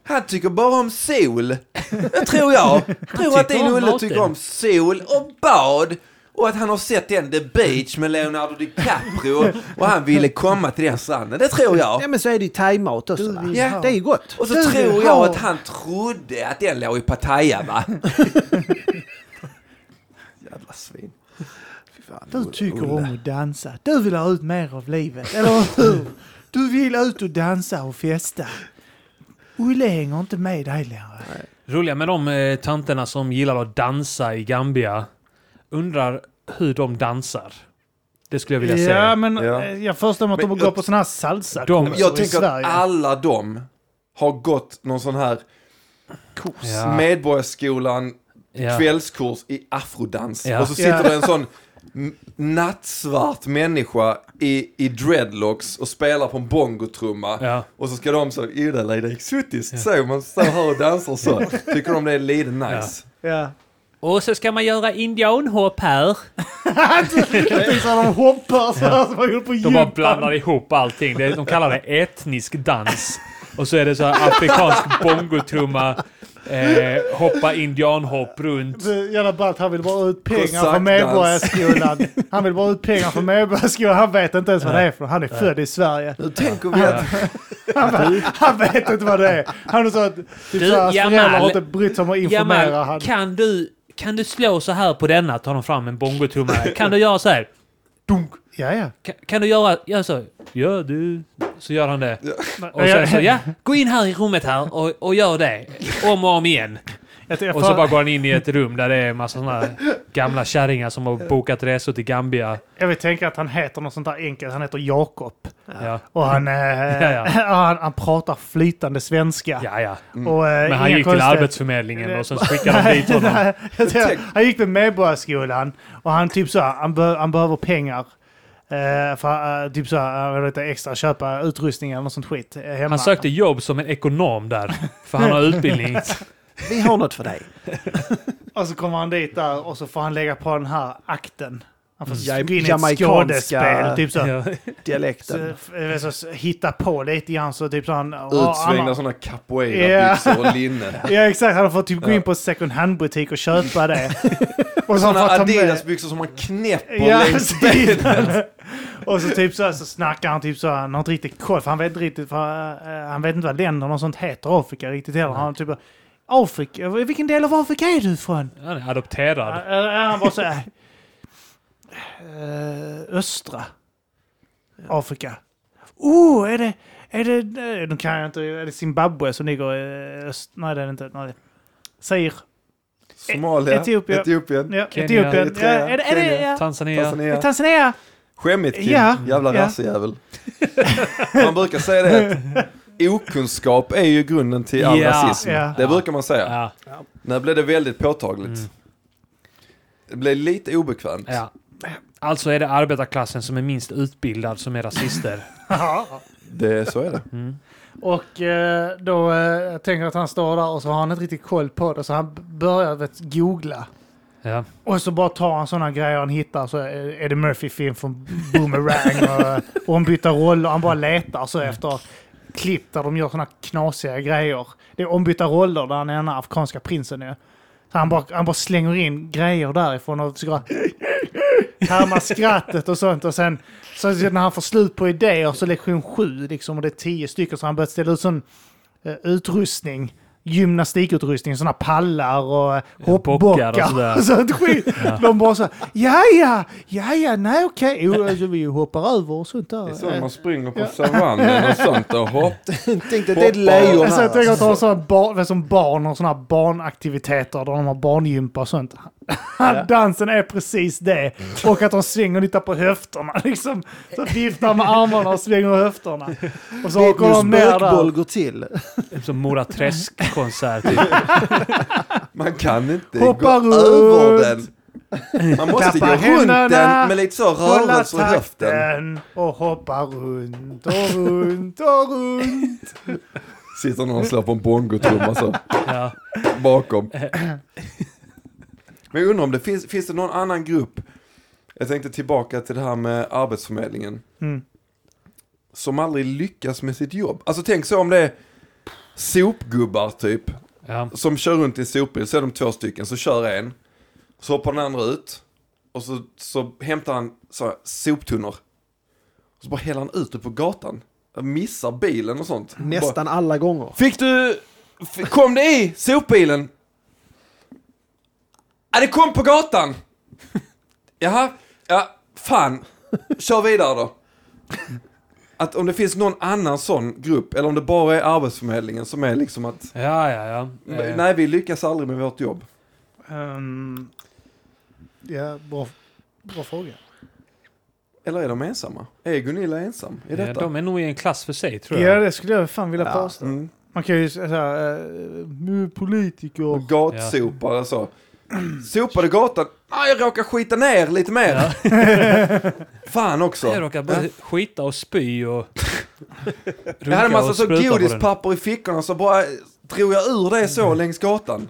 Han tycker bara om sol. Det tror jag. Tror att tycker din om Olle maten. tycker om sol och bad Och att han har sett den The Beach med Leonardo DiCaprio och han ville komma till den stranden. Det tror jag. Ja men så är det ju time-out också. va? Ja. Det är ju gott. Och så Du vill tror jag ha- att han trodde att den låg i Pattaya va? Jävla svin. Fy fan, Du Ulle- tycker Ulle. om att dansa. Du vill ha ut mer av livet, eller hur? Du vill ut och dansa och festa. Olle hänger inte med dig längre. Roliga med de eh, tanterna som gillar att dansa i Gambia. Undrar hur de dansar. Det skulle jag vilja Ja, se. men Ja. eh, jag föreställer mig att Men de går upp- på sådana här salsa De- Jag i tänker att Sverige. alla de har gått någon sån här kurs. Ja. Medborgarskolan Ja. kvällskurs i afrodans. Ja. Och så sitter Ja. det en sån n- nattsvart människa i, i dreadlocks och spelar på en bongotrumma. Ja. Och så ska de så, ju det lite exotiskt, så man står här och dansar så. Tycker de det är lite nice? Ja. Och så ska man göra indianhopp här. Tänk så här, de hoppar så här som man gjorde på De bara gympan. blandar ihop allting. Det är- De kallar det etnisk dans. Och så är det så här afrikansk bongotrumma, eh, hoppa indianhopp runt. Det är Jävla ballt, han vill bara ha ut pengar Kosackdans. från medborgarskolan. Han vill bara ha ut pengar från medborgarskolan. Han vet inte ens vad det är för Han är född i Sverige. Nu tänker vi att Han, bara, han vet inte vad det är. Han är så att typ Du, så här, hans Jamal. föräldrar har inte brytt sig om att informera han. kan du, kan du slå så här på denna? Tar de fram en bongotrumma. Kan du göra så här? Ja, ja. Kan, kan du göra, gör så? Gör du? Så gör han det. Och Ja, sen så, ja, gå in här i rummet här och, och gör det. Om och om igen. Jag, jag, Och så bara går han in i ett rum där det är en massa såna här gamla kärringar som har bokat resor till Gambia. jag vill tänka att han heter något sånt där enkelt. Han heter Jakob. Ja, Och han, eh, ja. han, han pratar flytande svenska. ja. ja. Och, eh, Men han inga gick till konstigheter. Arbetsförmedlingen och sen så skickade de dit honom. Nej, jag tror- han gick till Medborgarskolan och han typ så här, han, be, han behöver pengar. Eh, för eh, typ så här, han vill lite extra köpa utrustning eller något sånt skit eh, hemma. Han sökte jobb som en ekonom där, för han har utbildning. Vi har något för dig. Och så kommer han dit där och så får han lägga på den här akten. Han får Ja, spela in ett jamaicanska- skådespel, typ så. Ja. Så, Dialekten. f- eh, så, så. Hitta på lite grann så typ så han... ja, utsvängda han- sådana Ja. capoeira-byxor och linne. Ja exakt, han får typ gå in på en second hand-butik och köpa det. och så Sådana får han ta med- Adidas-byxor som man knäpper Ja, längs benen. Och så typ så, här, så snackar han typ så här, han har inte riktigt koll för han vet inte riktigt, för, eh, han vet inte vad länderna och sånt heter Afrika riktigt heller. Han typ bara, Afrika, Eh, vilken del av Afrika är du ifrån? Han är adopterad. Äh, äh, Han bara så här, "Eh, östra Afrika. Oh, är det, är det, eh, nu kan jag inte, är det Zimbabwe som ligger i öst? Nej det är det inte, nej. Säger, Somalia, Etiopien. Etiopien, ja, Kenya, Etiopien, ja, Eritrea, är det, är det, ja. Tanzania. Tanzania. Tanzania? Skämmigt Kim, Ja. jävla Ja. rassejävel. Man brukar säga det att okunskap är ju grunden till all Ja. rasism. Ja. Det brukar man säga. Ja, Mm. När blev det väldigt påtagligt. Det blev lite obekvämt. ja. Alltså är det arbetarklassen som är minst utbildad som Mm. är rasister. Det, så är det. Och eh, då eh, tänker jag att han står där och så har han inte riktigt koll på det så han b- börjar vet, googla. Ja. Och så bara tar han sådana grejer han hittar så är är det Murphy-film från Boomerang och, eh, och de byter roller. Han bara letar så efter klipp där de gör sådana knasiga grejer. Det är ombytta roller där den ena afghanska prinsen är. Så han bara, han bara slänger in grejer därifrån och försöker härma skrattet och sånt. Och sen så när han får slut på idéer så lektion sju liksom, och det är tio stycken så han börjat ställa ut sån eh, utrustning. Gymnastikutrustning, sådana pallar och eh, bockar och hoppbockar sådär. och sånt skit. De bara så här, ja ja, ja ja, nej okej. Jo, alltså, vi hoppar över och sånt där. Det är så när man springer på savannen och sånt och hopp. Tänkte det är ett lejon Alltså, jag tänker här. att de har sådana barn, det är som barn och sådana här barnaktiviteter där de har barngympa och sånt. Dansen är precis det. Mm. Och att de svänger lite på höfterna. Liksom. Så viftar med armarna och svänger höfterna. Och så Vet ni åker hur de ner spökboll där. går till? Som Mora Träsk-konsert. typ. Man kan inte Hoppa gå över runt. den. Man måste gå Klappa runt händerna. den med lite så Hålla rörelser i höften. takten och hoppa runt och runt och runt. Sitter någon och slår på en bongotrumma så. Ja. bakom. Men jag undrar om det finns, finns det någon annan grupp? Jag tänkte tillbaka till det här med Arbetsförmedlingen. Mm. Som aldrig lyckas med sitt jobb. Alltså tänk så om det är sopgubbar typ. Ja. Som kör runt i en sopbil, så är de två stycken, så kör en. Så hoppar den andra ut. Och så, så hämtar han så här, soptunnor. Och så bara häller han ut det på gatan. Han missar bilen och sånt. Bara, Nästan alla gånger. Fick du... f- Kom det i sopbilen? Ja, det kom på gatan. Jaha, ja, fan. Kör vidare då. Att om det finns någon annan sån grupp, eller om det bara är Arbetsförmedlingen som är liksom att Ja, ja, ja. Eh, Nej, vi lyckas aldrig med vårt jobb. Ehm, ja, bra, bra fråga. Eller är de ensamma? Är Gunilla ensam i ja, detta? eh, de är nog i en klass för sig tror Ja, jag. det skulle jag fan vilja Ja. påstå. Mm. Man kan ju säga såhär, uh, politiker. Och Gatsopare så. Sopade gatan. Ah, jag råkar skita ner lite mer. Ja. Fan också. Jag råkar bara skita och spy och... Jag hade en massa så godispapper. godispapper i fickorna så bara drog jag ur det Mm. så längs gatan.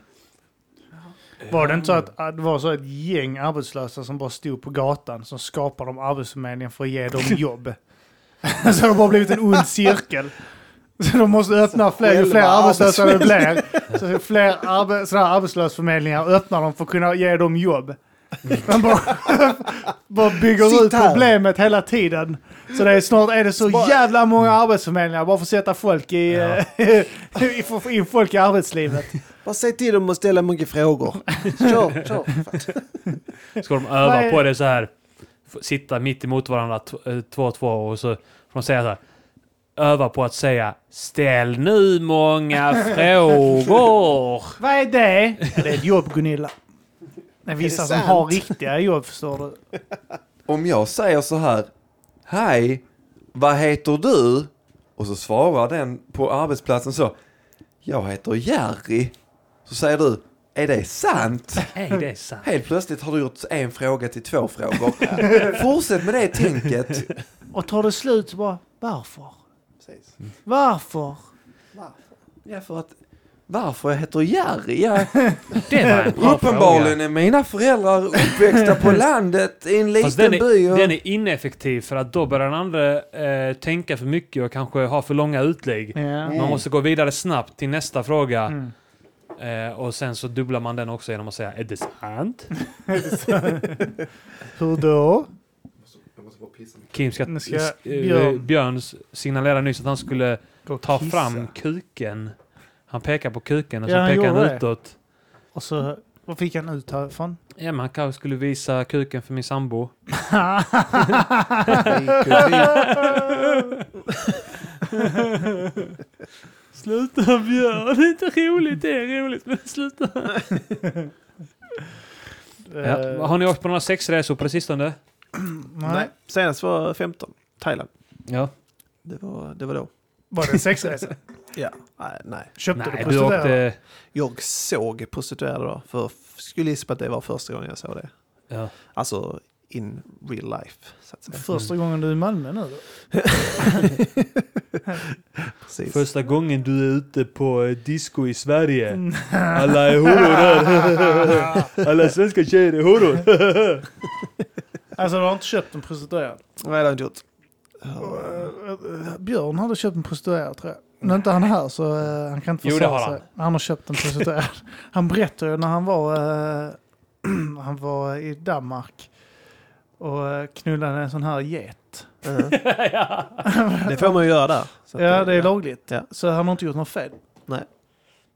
Var det inte Eh. så att att det var så ett gäng arbetslösa som bara stod på gatan som skapade om Arbetsförmedlingen för att ge dem jobb? så det har bara blivit en ond cirkel. Så de måste öppna fler, ju fler själva arbetslösa det blir. Så ju fler arbe, sådana här arbetslöshetsförmedlingar öppnar de för att kunna ge dem jobb. Man bara, bara bygger Sitt ut här. problemet hela tiden. Så det är snart är det så jävla många arbetsförmedlingar bara för att sätta folk i, i- få in folk i arbetslivet. Bara säg till dem att ställa mycket frågor. Kör, kör. Ska de Vad öva är- på det så här. f- Sitta mitt emot varandra t- eh, två och två och så får de säga så här. Öva på att säga ställ nu många frågor. Vad är det? Det är ett jobb Gunilla. Det är vissa Är det som sant? har riktiga jobb förstår du. Om jag säger så här. Hej, vad heter du? Och så svarar den på arbetsplatsen så. Jag heter Jerry. Så säger du. Är det sant? Nej, det är sant. Helt plötsligt har du gjort en fråga till två frågor. Fortsätt med det tänket. Och tar det slut så bara, varför? Varför? Ja, för att, varför jag heter Jerry? Ja, Det var en bra uppenbarligen fråga. är mina föräldrar uppväxta på landet i en liten Fast den by. är, Och, den är ineffektiv för att då börjar den andra eh, tänka för mycket och kanske ha för långa utlägg. Ja. Man måste gå vidare snabbt till nästa fråga. Mm. Eh, och sen så dubblar man den också genom att säga är det sant? Hur då? Kim ska, Nu ska s- eh, Björn- Björn s- signalerade nyss att han skulle Gå och ta kissa. fram kuken. Han pekar på kuken och Ja, så han pekar han gjorde det. utåt. Och så, vad fick han ut härifrån? Ja, men han kanske skulle visa kuken för min sambo. Sluta Björn, det är inte roligt. Det är roligt, men sluta. Ja. Eh, Har ni åkt på några sexresor på det sistone? nej. Senast var 15. Thailand. Ja. Det var, det var då. Var det en sexresa? Ja. Nej, nej. Köpte Nej, du du prostituerade? åkte... Jag såg prostituerade då. För skulle gissa på att det var första gången jag såg det. Ja. Alltså in real life. Så att säga. Första gången du är i Malmö nu? Precis. Första gången du är ute på eh, disco i Sverige. Alla är horor där. Alla svenska tjejer är horor. Alltså du har inte köpt en prostituerad? Nej, det har jag inte gjort. Eh, eh, Björn hade köpt en prostituerad tror jag. Nu är inte han här så eh, han kan inte Jo, det försvara har sig. Han har köpt en prostituerad. han berättade ju när han var, eh, han var i Danmark och eh, knullade en sån här get. Eh, Det får man ju göra där. Så att, Ja, det är ja, lagligt. Ja. Så han har inte gjort något fel.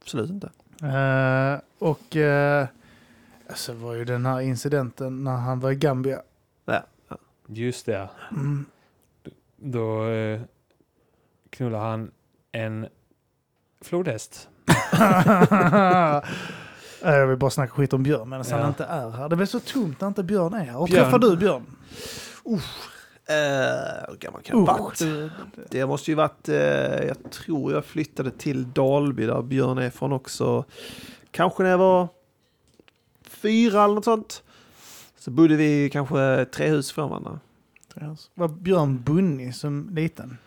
Absolut inte. Eh, och eh, alltså var ju den här incidenten när han var i Gambia. Just det. Mm. Då eh, knullar han en flodhäst. Eh, Jag vill bara snacka skit om Björn medan Ja. han inte är här. Det blir så tomt när inte Björn är här. Och Björn- träffar du Björn? Eh, hur gammal kan jag ha Usch, varit? du- Det måste ju varit, eh, jag tror jag flyttade till Dalby där Björn är från också. Kanske när jag var fyra eller något sånt. Så bodde vi kanske tre hus från varandra. Var Björn bunny som liten?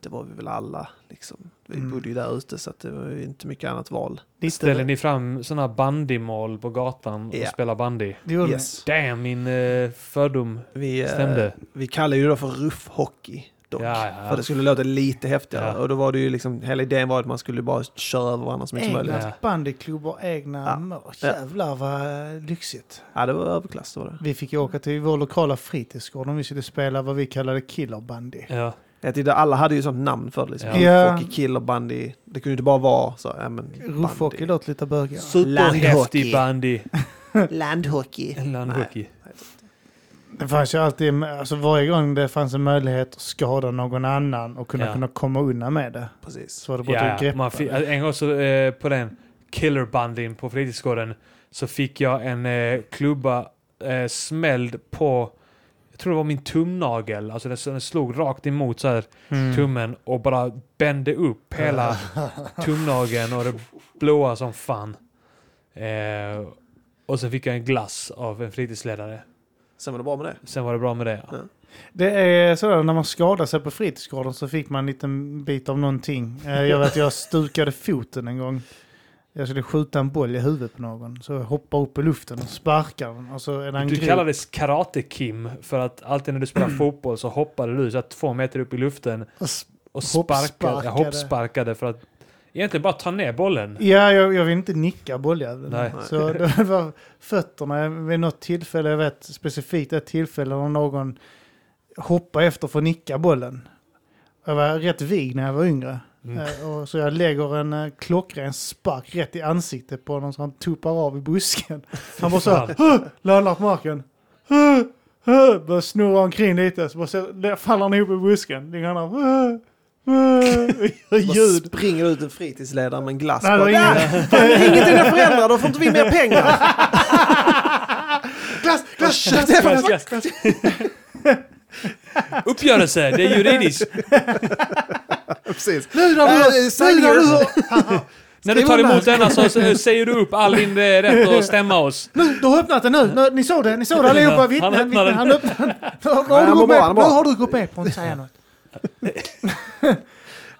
Det var vi väl alla liksom. Vi Mm. bodde ju där ute så att det var ju inte mycket annat val. Ställer ni fram såna här bandymål på gatan och Ja. spelar bandy? Det gjorde Yes. Damn, min eh, fördom Vi, eh, stämde. vi kallar ju det för ruffhockey. dock. Ja, ja. För det skulle låta lite häftigare. Ja. Och då var det ju liksom, hela idén var att man skulle bara köra över varandra så mycket som möjligt. Ja. Egna bandyklubbar, egna Ja. mål. Jävlar vad lyxigt. Ja, det var överklass, det var det. Vi fick ju åka till vår lokala fritidsgård om vi skulle spela vad vi kallade killerbandy. Ja. Jag tyckte alla hade ju sånt namn för det liksom. Ja. Ja. Hockey, kill och bandy. Det kunde ju inte bara vara så, ja men... Ruffhockey bandy. låter lite bögigare. Superhäftig bandy. Landhockey. Landhockey. Det fanns ju alltid, alltså varje gång det fanns en möjlighet att skada någon annan och kunna, Ja. kunna komma undan med det. Precis. Så var det bara att Ja, greppa. man fick, en gång så, eh, på den killerbandyn på fritidsgården så fick jag en eh, klubba eh, smälld på, jag tror det var min tumnagel, alltså den, den slog rakt emot så här Mm. tummen och bara bände upp hela tumnageln och det blåa som fan. Eh, och sen fick jag en glass av en fritidsledare. Sen var det bra med det. Sen var det bra med det. Ja. Det är sådär, när man skadade sig på fritidsgården så fick man en liten bit av någonting. Eh, Jag vet att jag stukade foten en gång. Jag skulle skjuta en boll i huvudet på någon. Så jag hoppar upp i luften och sparkar den. Och så är det en Du grop. kallades Karate-Kim för att alltid när du spelade fotboll så hoppade du så att två meter upp i luften Och s- och sparkade, Hoppsparkade. ja, hoppsparkade för att egentligen bara ta ner bollen. Ja, jag, jag vill inte nicka bolljäveln. Nej. Så det var fötterna vid något tillfälle, jag vet specifikt ett tillfälle när någon hoppade efter för att nicka bollen. Jag var rätt vig när jag var yngre. Eh, Och så jag lägger en eh, klockren spark rätt i ansiktet på honom så han tuppar av i busken. Han bara så här, "Huh!" landar på marken. "Huh! Huh!" Börjar snurra omkring lite, så bara så, där faller han ihop i busken. Ligger han där, "Huh! Huh!" och gör Ljud. ljud. springer ut en fritidsledare med en glass. Nej, det var Bara, ingen- "Där! Ingenting är förändrat, då får inte vi mer pengar. Glass, glass, Klass, glass, klass. Uppgörelse, det är juridiskt. Precis. Nu när du- nu när du- När du tar emot denna så så säger du upp all din eh, rätt att stämma oss. Nu, du har öppnat den nu. nu! Ni såg det, ni såg det Ja, allihopa! han Vittnen, öppnar vittnen, den. han öppnade den. Nu Nej, har han du var gått bra, med han på- var nu bra. har du gått med på att inte säga något.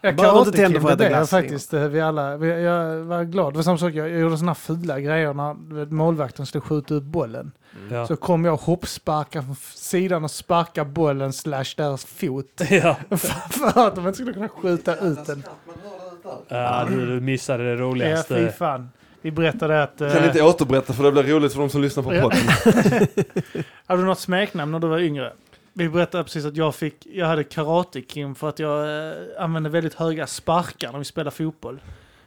Jag Bara kan du inte inte tänder tända på på att äta det. Jag glass, faktiskt, eh, vi alla, vi, jag var glad. Det var samma sak, jag, jag gjorde sådana fula grejer när du vet, målvakten skulle skjuta ut bollen. Ja. Så kom jag och hoppsparkade från f- sidan och sparkade bollen slash deras fot. Ja. För- För att de inte skulle kunna skjuta ut den. Ja, du, du missade det Ja, fy roligaste. fan. Vi berättade att... eh, Kan inte återberätta för det blir roligt för de som lyssnar på Ja. podden. Hade du något smeknamn när du var yngre? Vi berättade precis att jag fick, jag hade karate-kim för att jag eh, använde väldigt höga sparkar när vi spelade fotboll.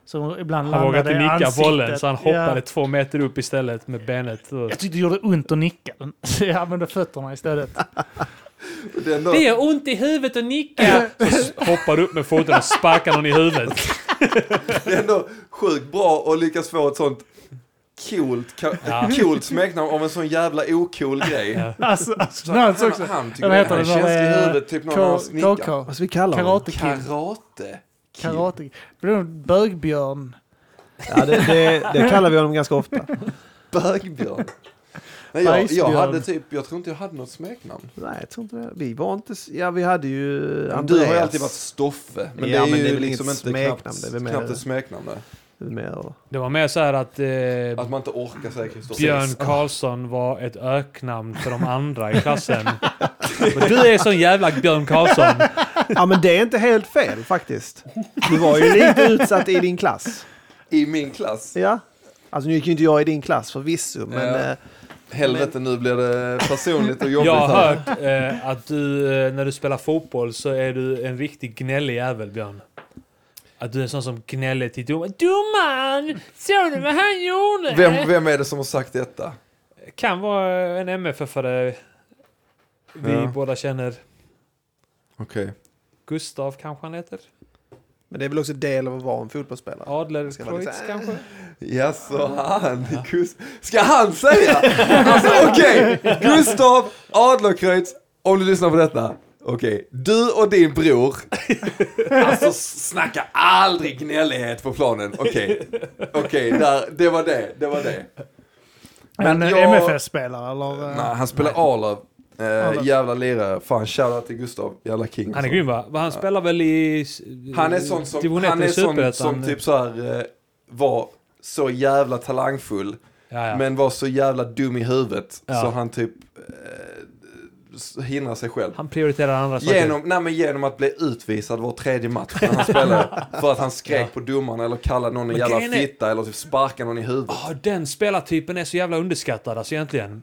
Som ibland Han vågade landade inte i nicka ansiktet. bollen så han hoppade Ja. två meter upp istället med benet. Och- Jag tyckte det gjorde ont att nicka den, så jag använde fötterna istället. Det är ändå- Det gör ont i huvudet att nicka! Så s- hoppar du upp med foten och sparkar någon i huvudet. Det är ändå sjukt bra att lyckas få ett sånt coolt, ka- Ja. coolt smeknamn av en sån jävla ocool grej. Ja. Alltså, alltså Så när han såg han, så... han tycker Vad det heter är det? Vad känsligt i är- huvudet, typ någon K- när han snickar. KK. Vad ska vi kalla honom? Karate-kim. Karate. Karate. Det blev en bögbjörn. Ja, det, det, det kallar vi honom ganska ofta. Bögbjörn. Nej, jag, jag Bajsbjörn. hade typ, jag tror inte jag hade något smeknamn. Nej, jag tror inte det. Vi var inte... s- Ja, vi hade ju Du Andreas. har ju alltid varit Stoffe. Men Ja, det är men ju det är väl liksom inget inte smeknamn, knappt, det är väl mer- knappt ett smeknamn. nej. Med och... Det var mer så här att eh, Att man inte orkar säga Kristoffer. Björn Karlsson var ett öknamn för de andra i klassen. Men du är sån jävla Björn Karlsson. Ja, men det är inte helt fel faktiskt. Du var ju lite utsatt i din klass. I min klass. Ja. Alltså nu gick ju inte jag i din klass förvisso, men... Ja. eh, Helvete, nu blir det personligt och jobbigt Jag har här. hört eh, att du, eh, när du spelar fotboll så är du en riktig gnällig jävel, Björn. Att du är en sån som gnäller till domaren. Domaren! Såg du vad han gjorde? Vem, vem är det som har sagt detta? Kan vara eh, en MFF-are vi Ja. båda känner. Okej. Gustav kanske han heter? Men det är väl också del av att vara en fotbollsspelare. Ska man Adlercreutz liksom- kanske? Ja, så han. Gust- Ska han säga? Alltså okej, Gustav Adlercreutz, om du lyssnar på detta. Okej, du och din bror, alltså snacka aldrig gnällighet på planen. Okej, okej, där, det var det, det var det. En eh, jag- MFS-spelare eller? eh, Nej, han spelar Arlöv. Eh, jävla lirare, fan shoutout till Gustav, jävla king. alltså. Han är grym va? Va, Han spelar väl i... s- Han är sån som, division ett han i är sån Superettan. som typ så här, eh, var så jävla talangfull. Ja, ja. Men var så jävla dum i huvudet Ja. så han typ eh, s- hindra sig själv. Han prioriterar andra saker. Genom, nej, men genom att bli utvisad var tredje match när han spelade. för att han skrek på domaren eller kallade någon en Men jävla grejen är- Ah. fitta eller typ sparkade någon i huvudet. Ja, den spelartypen är så jävla underskattad alltså egentligen.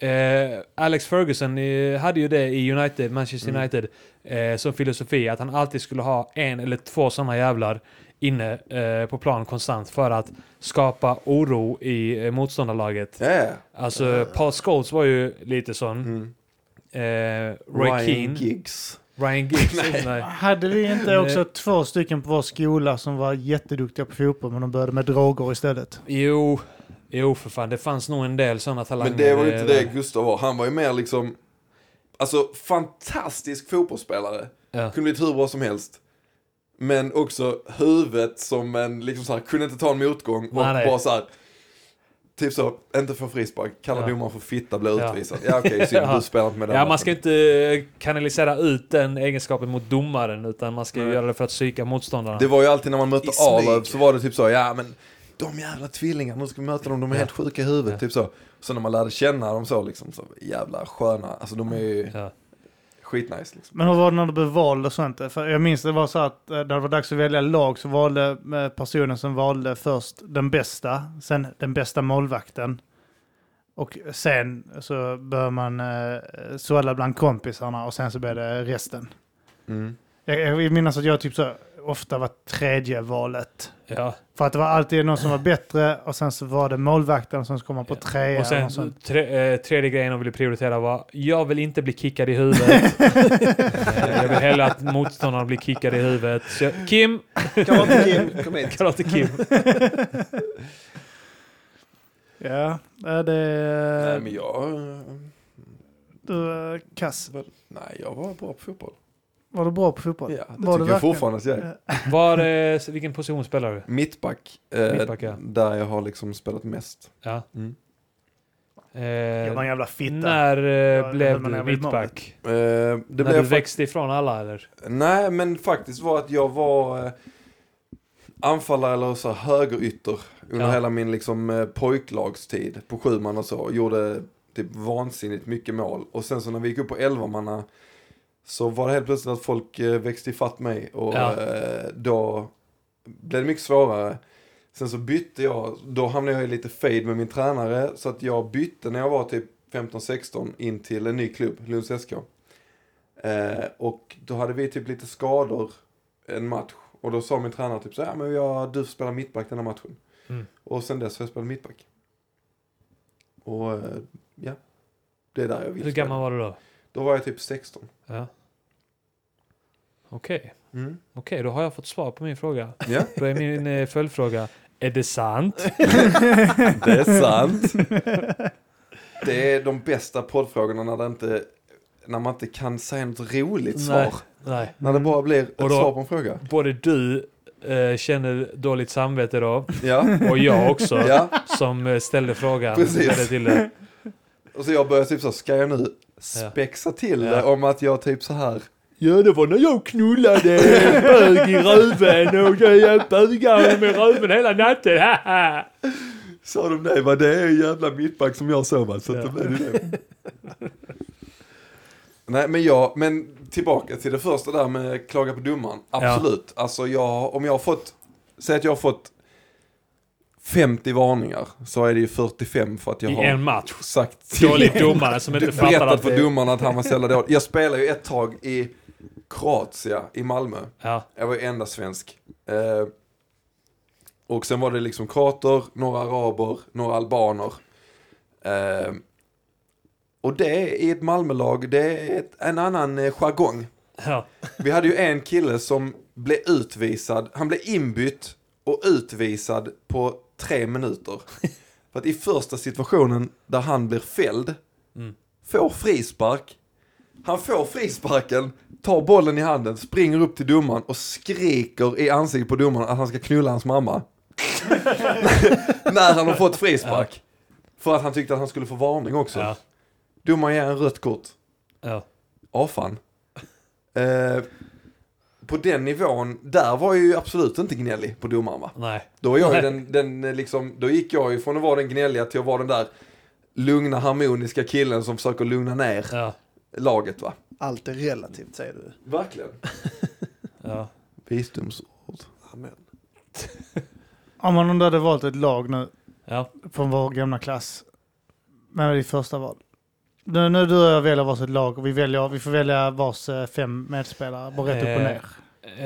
Eh, Alex Ferguson eh, hade ju det i United, Manchester Mm. United eh, som filosofi att han alltid skulle ha en eller två sådana jävlar inne eh, på plan konstant för att skapa oro i eh, motståndarlaget. Ja, ja. Alltså Paul Scholes var ju lite sån. Eh. Mm. Eh, Roy Ryan Keane. Giggs. Ryan Giggs. nej. nej. Hade vi inte också två stycken på vår skola som var jätteduktiga på fotboll men de började med droger istället? Jo, jo för fan. Det fanns nog en del sådana talanger. Men det var inte eh, det där. Gustav var. Han var ju mer liksom, alltså fantastisk fotbollsspelare. Ja. Kunde bli hur bra som helst. Men också huvudet som en, liksom så här, kunde inte ta en motgång och Nej, nej. bara så här. Typ så, inte få frispark, kalla Ja. domaren för fitta, bli Ja. utvisad. Ja, okej, synd, Ja. du spelar inte med den Ja, matchen. man ska inte eh, kanalisera ut den egenskapen mot domaren, utan man ska ju Nej. göra det för att psyka motståndarna. Det var ju alltid när man mötte I smyg. Arlöv så var det typ så, ja men de jävla tvillingarna, nu ska vi möta dem, de är Ja. helt sjuka i huvudet, Ja. typ så. Så när man lärde känna dem så liksom, så jävla sköna, alltså de är ju Ja. skitnice liksom. Men hur var det när du blev vald och sånt? För jag minns det var så att eh, när det var dags att välja lag så valde eh, personen som valde först den bästa, sen den bästa målvakten. Och sen så bör man eh, sålla bland kompisarna och sen så blev det resten. Mm. Jag, jag vill minnas att jag typ så ofta var tredje valet. Ja. För att det var alltid någon som var bättre och sen så var det målvakten som kom på trea. Och eller något sen sånt. tre, eh, tredje grejen de ville prioritera var, jag vill inte bli kickad i huvudet. Eh, jag vill hellre att motståndarna blir kickade i huvudet. Så jag, Kim, Karate Kim, kom hit. Karate Kim. Ja, eh, det... Nej men jag, eh, Du var kass. var, nej jag var bra på fotboll. Var du bra på fotboll? Ja, det Var tycker du jag verkligen? fortfarande att jag är. Ja. Var, eh, vilken position spelar du? Mittback, eh, Mittback, ja. där jag har liksom spelat mest. Ja. Mm. Eh, Jag var en jävla fitta. när eh, det blev höll man du ner vid mittback? Eh, det När du fakt- växte ifrån alla eller? Nej, men faktiskt var att jag var eh, anfallare eller så här högerytter under Ja. hela min liksom, eh, pojklagstid på sju man och så. Gjorde typ vansinnigt mycket mål. Och sen så när vi gick upp på elva manna så var det helt plötsligt att folk eh, växte ifatt mig och Ja. eh, då blev det mycket svårare. Sen så bytte jag, då hamnade jag i lite fade med min tränare så att jag bytte när jag var typ 15-16 in till en ny klubb, Lunds SK. Eh, och då hade vi typ lite skador en match. Och då sa min tränare typ så här, "Ja, men jag, du får spela mittback den här matchen. Mm. Och sen dess har jag spelat mittback. Och eh, ja, det är där jag vill Hur spela. gammal var du då? Då var jag typ 16. Ja. Okej. Mm. Okej, då har jag fått svar på min fråga. Ja, Då är min eh, följdfråga, är det sant? det är sant. Det är de bästa poddfrågorna när, det inte, när man inte kan säga något roligt Nej. svar. Nej. När det bara blir ett Och då- svar på en fråga. Både du eh, känner dåligt samvete då, Ja, och jag också, ja. som eh, ställde frågan. Precis. Ställde till det. Och så jag börjar typ så här, ska jag nu spexa till det Ja. om att jag typ så här Ja, det var när jag knullade en bög i röven och jag jag bögade Med röven hela natten, haha! Sa de nej, vad det är en jävla mittback som jag såg va? Så att Ja. då blev det det. Nej men jag, men tillbaka till det första där med klaga på domaren. Absolut, alltså jag, om jag har fått, säg att jag har fått 50 varningar så är det ju 45 för att jag I har en match. sagt till Dålig domare som inte fattar berättat att för det är... domaren att han var så jävla dålig. Jag spelade ju ett tag i Kroatia, i Malmö. Ja, Jag var ju enda svensk. Eh, och sen var det liksom kroater, några araber, några albaner. Eh, och det är i ett Malmölag, det är ett, en annan eh, jargong. ja, Vi hade ju en kille som blev utvisad, han blev inbytt och utvisad på tre minuter. För att i första situationen där han blir fälld, Mm. får frispark, han får frisparken, tar bollen i handen, springer upp till domaren och skriker i ansiktet på domaren att han ska knulla hans mamma. När han har fått frispark. För att han tyckte att han skulle få varning också. ja, Domaren ger en rött kort. ja. Ja, fan. Eh, på den nivån, där var jag ju absolut inte gnällig på domaren va? Nej. Då, var jag ju Nej. den, den eh, liksom, då gick jag ju från att vara den gnälliga till att vara den där lugna harmoniska killen som försöker lugna ner Ja, laget va? Allt är relativt, säger du. Verkligen. Ja. Visdomsord. Amen. Om man ändå hade valt ett lag nu Ja. från vår gamla klass. Men ditt första val. Nu, nu du och jag väljer varsitt lag och vi, väljer, vi får välja vars eh, fem medspelare, bara rätt upp och Eh,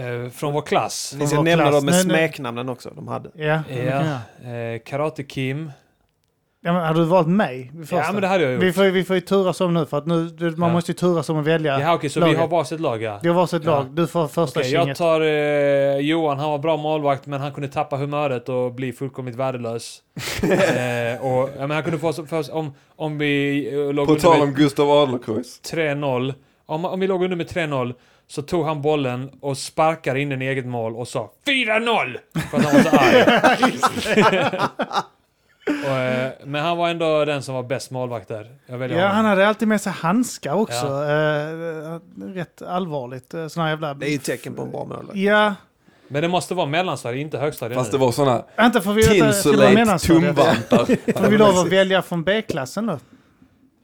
ner. Eh, från vår klass. Ni ska vår nämna klass. dem med Nej, nej. smeknamnen också, de hade. Ja, det kan jag. Ja. Eh, Karate Kim. ja men hade du valt mig? vid Första? Ja, men det hade jag vi, gjort. får, vi får ju turas om nu för att nu, du- man Ja. måste ju turas om att välja. Ja, okej, så vi laget. har varsitt lag, ja. Vi har varsitt Ja. lag, du får första Okej, jag tjinget. tar eh, Johan, han var bra målvakt men han kunde tappa humöret och bli fullkomligt värdelös. eh, och, ja, men han kunde få oss, för oss om, om vi eh, låg På under tal med om Gustav Adlercreutz. 3-0, om, om vi låg under med 3-0 så tog han bollen och sparkade in den i eget mål och sa 4-0! För att han var så arg. och, eh, men han var ändå den som var bäst målvakt där. Jag väljer Ja, honom. han hade alltid med sig handskar också. Eh, rätt allvarligt. eh, Såna jävla... Det är ju ett tecken på en bra målvakt. Ja, Men det måste vara mellanstadiet, inte högstadiet. Fast det nu. var sådana vänta får vi veta, skulle vara tinsulate mellanstadiet? tumvantar. Får vi lov att välja från B-klassen då?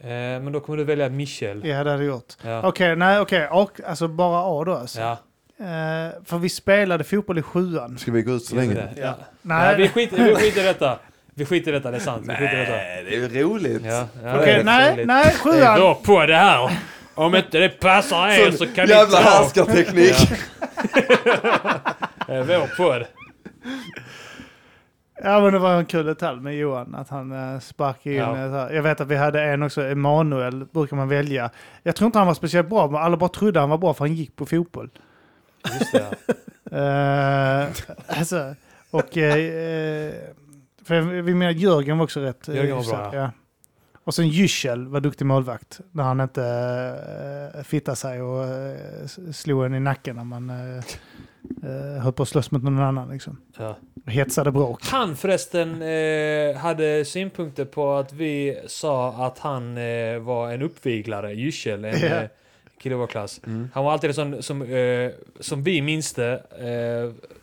Eh, men då kommer du välja Michel. Ja, det hade jag gjort. Ja. Okej, nej okej. Och, alltså bara A då alltså. Ja, Eh, för vi spelade fotboll i sjuan. Ska vi gå ut så just länge? det. Ja. Nej, vi Nej, skiter, vi skiter i detta. Vi skiter i detta, det är sant. Vi skiter i detta. det är ju roligt. Ja, ja, det är okej, rätt nej, roligt. nej, Det är sjuan. då på det här. Om inte det passar er så kan ni ta. Eh, Jävla härskarteknik! Det är vår podd. Ja, men det var en kul detalj med Johan, att han eh, sparkade in. Ja. eh, så här. Jag vet att vi hade en också, Emanuel, brukar man välja. Jag tror inte han var speciellt bra, men alla bara trodde han var bra för han gick på fotboll. Just det. Eh, alltså, och... eh, eh, för vi menar Jörgen var också rätt. eh, Jörgen var bra, hyfsad, ja. Och sen Yücel var duktig målvakt när han inte uh, fittade sig och eh, s- slog en i nacken när man uh, höll på att slåss mot någon annan. Liksom. Ja. Hetsade bråk. Han förresten eh, hade synpunkter på att vi sa att han eh, var en uppviglare, Yücel, en Ja. eh, kille i vår klass. Han var alltid en sån som, eh, som vi minste. Eh,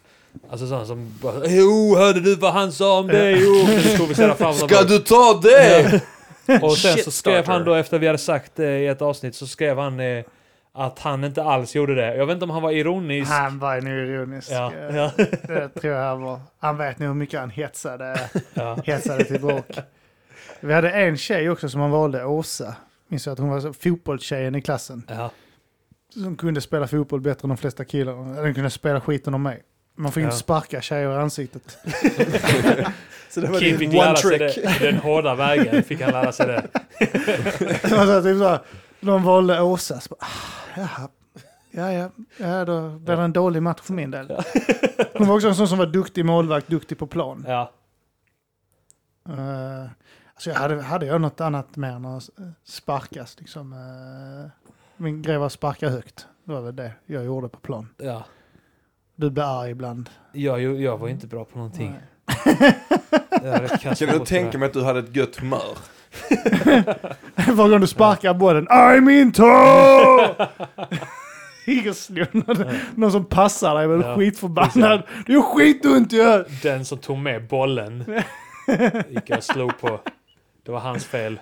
alltså sån som bara Jo, hörde du vad han sa om dig? Jo, så tog vi sådär fram Ska du ta det? Och sen så skrev Shitstarter. han då efter vi hade sagt eh, i ett avsnitt så skrev han eh, att han inte alls gjorde det. Jag vet inte om han var ironisk. Han var nu ironisk. Ja, eh, ja, Det tror jag han var. Han vet nog hur mycket han hetsade, ja. hetsade till bråk. Vi hade en tjej också som han valde, Åsa. Minns jag att hon var så- fotbollstjejen i klassen. ja. som kunde spela fotboll bättre än de flesta killarna. De kunde spela skiten om mig. Man får ju Ja. inte sparka tjejer i ansiktet. Så det var Kim din fick one lära sig trick. det den hårda vägen. Fick han lära sig det. Det var så här, typ så här, de valde Åsa. Så bara, ah, jaha. Ja, ja, ja, då blev det en dålig match för min del. Hon var också en sån som var duktig målvakt, duktig på plan. Ja. Uh, alltså jag hade, hade jag något annat mer än att eh, sparkas? Liksom, eh, min grej var att sparka högt. Det var väl det jag gjorde på plan. Ja. Du blir arg ibland. Jag, jag, jag var ju inte bra på någonting. Nej. Jag hade kastat Kan du bort tänka det. mig att du hade ett gött humör? Varje gång du sparkar bollen, I'm in toe! Igelslundade. Någon som passar dig, men Ja, skitförbannad. Det är skitont ju! Den som tog med bollen gick jag och slog på. Det var hans fel.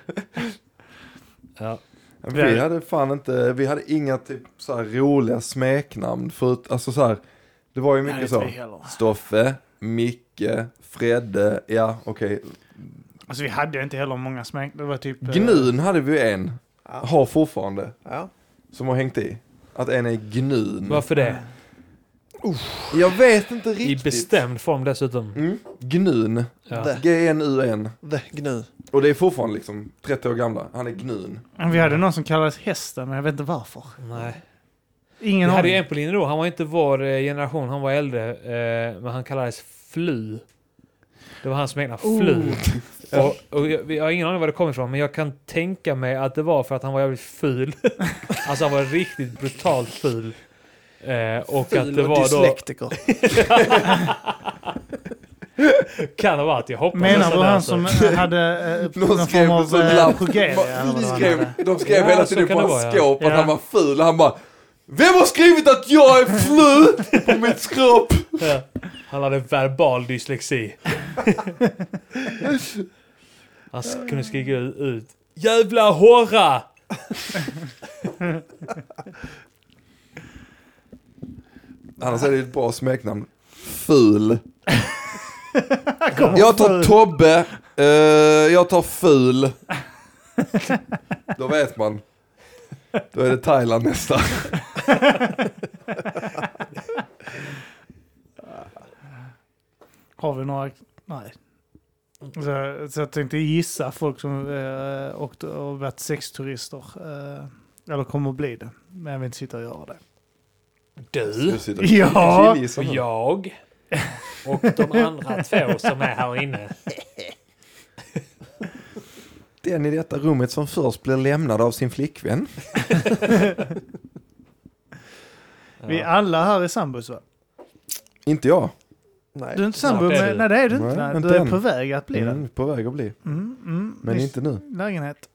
Ja. Vi hade fan inte, vi hade inga typ så här roliga smeknamn förut, alltså så här, det var ju mycket så. Stoffe, Micke, Fredde, ja okej. Alltså vi hade ju inte heller många smäck. Det var typ... eh, Gnun hade vi ju en, har fortfarande, Ja. som har hängt i. Att en är gnun. Varför det? Jag vet inte I riktigt. bestämd form dessutom. Mm. Gnun. E Ja. G-N-U-N. The gnu. Och det är fortfarande liksom 30 år gamla. Han är gnun. men Vi hade någon som kallades hästen, men jag vet inte varför. Nej. Vi Ingen hade ju aning. en på Linero. Han var inte vår eh, generation. Han var äldre. eh, Men han kallades Fly. Det var hans smeknamn. Oh. Fly. Och, och jag, jag har ingen aning var det kom ifrån. Men jag kan tänka mig att det var för att han var jävligt ful. Alltså han var riktigt brutalt ful. Eh, och att Ful det och var då... Typ dyslektiker. Kan ha varit. Jag hoppas Menar nästan du det, han alltså. som eh, hade eh, Någon någon skrev form på av sån eh, lapp. progeria? eller De vad det var skrev, där? de skrev Ja, hela så tiden på kan det hans vara, ja. skåp Ja. att han var ful. Och han bara Vem har skrivit att jag är ful på mitt skåp? Ja. Han hade verbal dyslexi. Han sk- kunde skrika ut Jävla horra! Annars är det ju ett bra smeknamn. Ful. Här kommer Jag tar ful. Tobbe, eh, jag tar Ful. Då vet man. Då är det Thailand nästa. Har vi några? Nej. Så, så jag tänkte gissa folk som eh, åkt och varit sexturister. Eh, eller kommer att bli det. Men jag vill inte sitta och göra det. Du Ja. och Killgissarna. jag och de andra två som är här inne. Den i detta rummet som först blir lämnad av sin flickvän. Vi alla här är sambos va? Inte jag. Nej. Du är inte sambo? Snart är men- du. Nej det är du inte. Nej, Nej, inte du är än. på väg att bli det. Mm, på väg att bli. Mm, mm, Men Visst, inte nu. Lägenhet.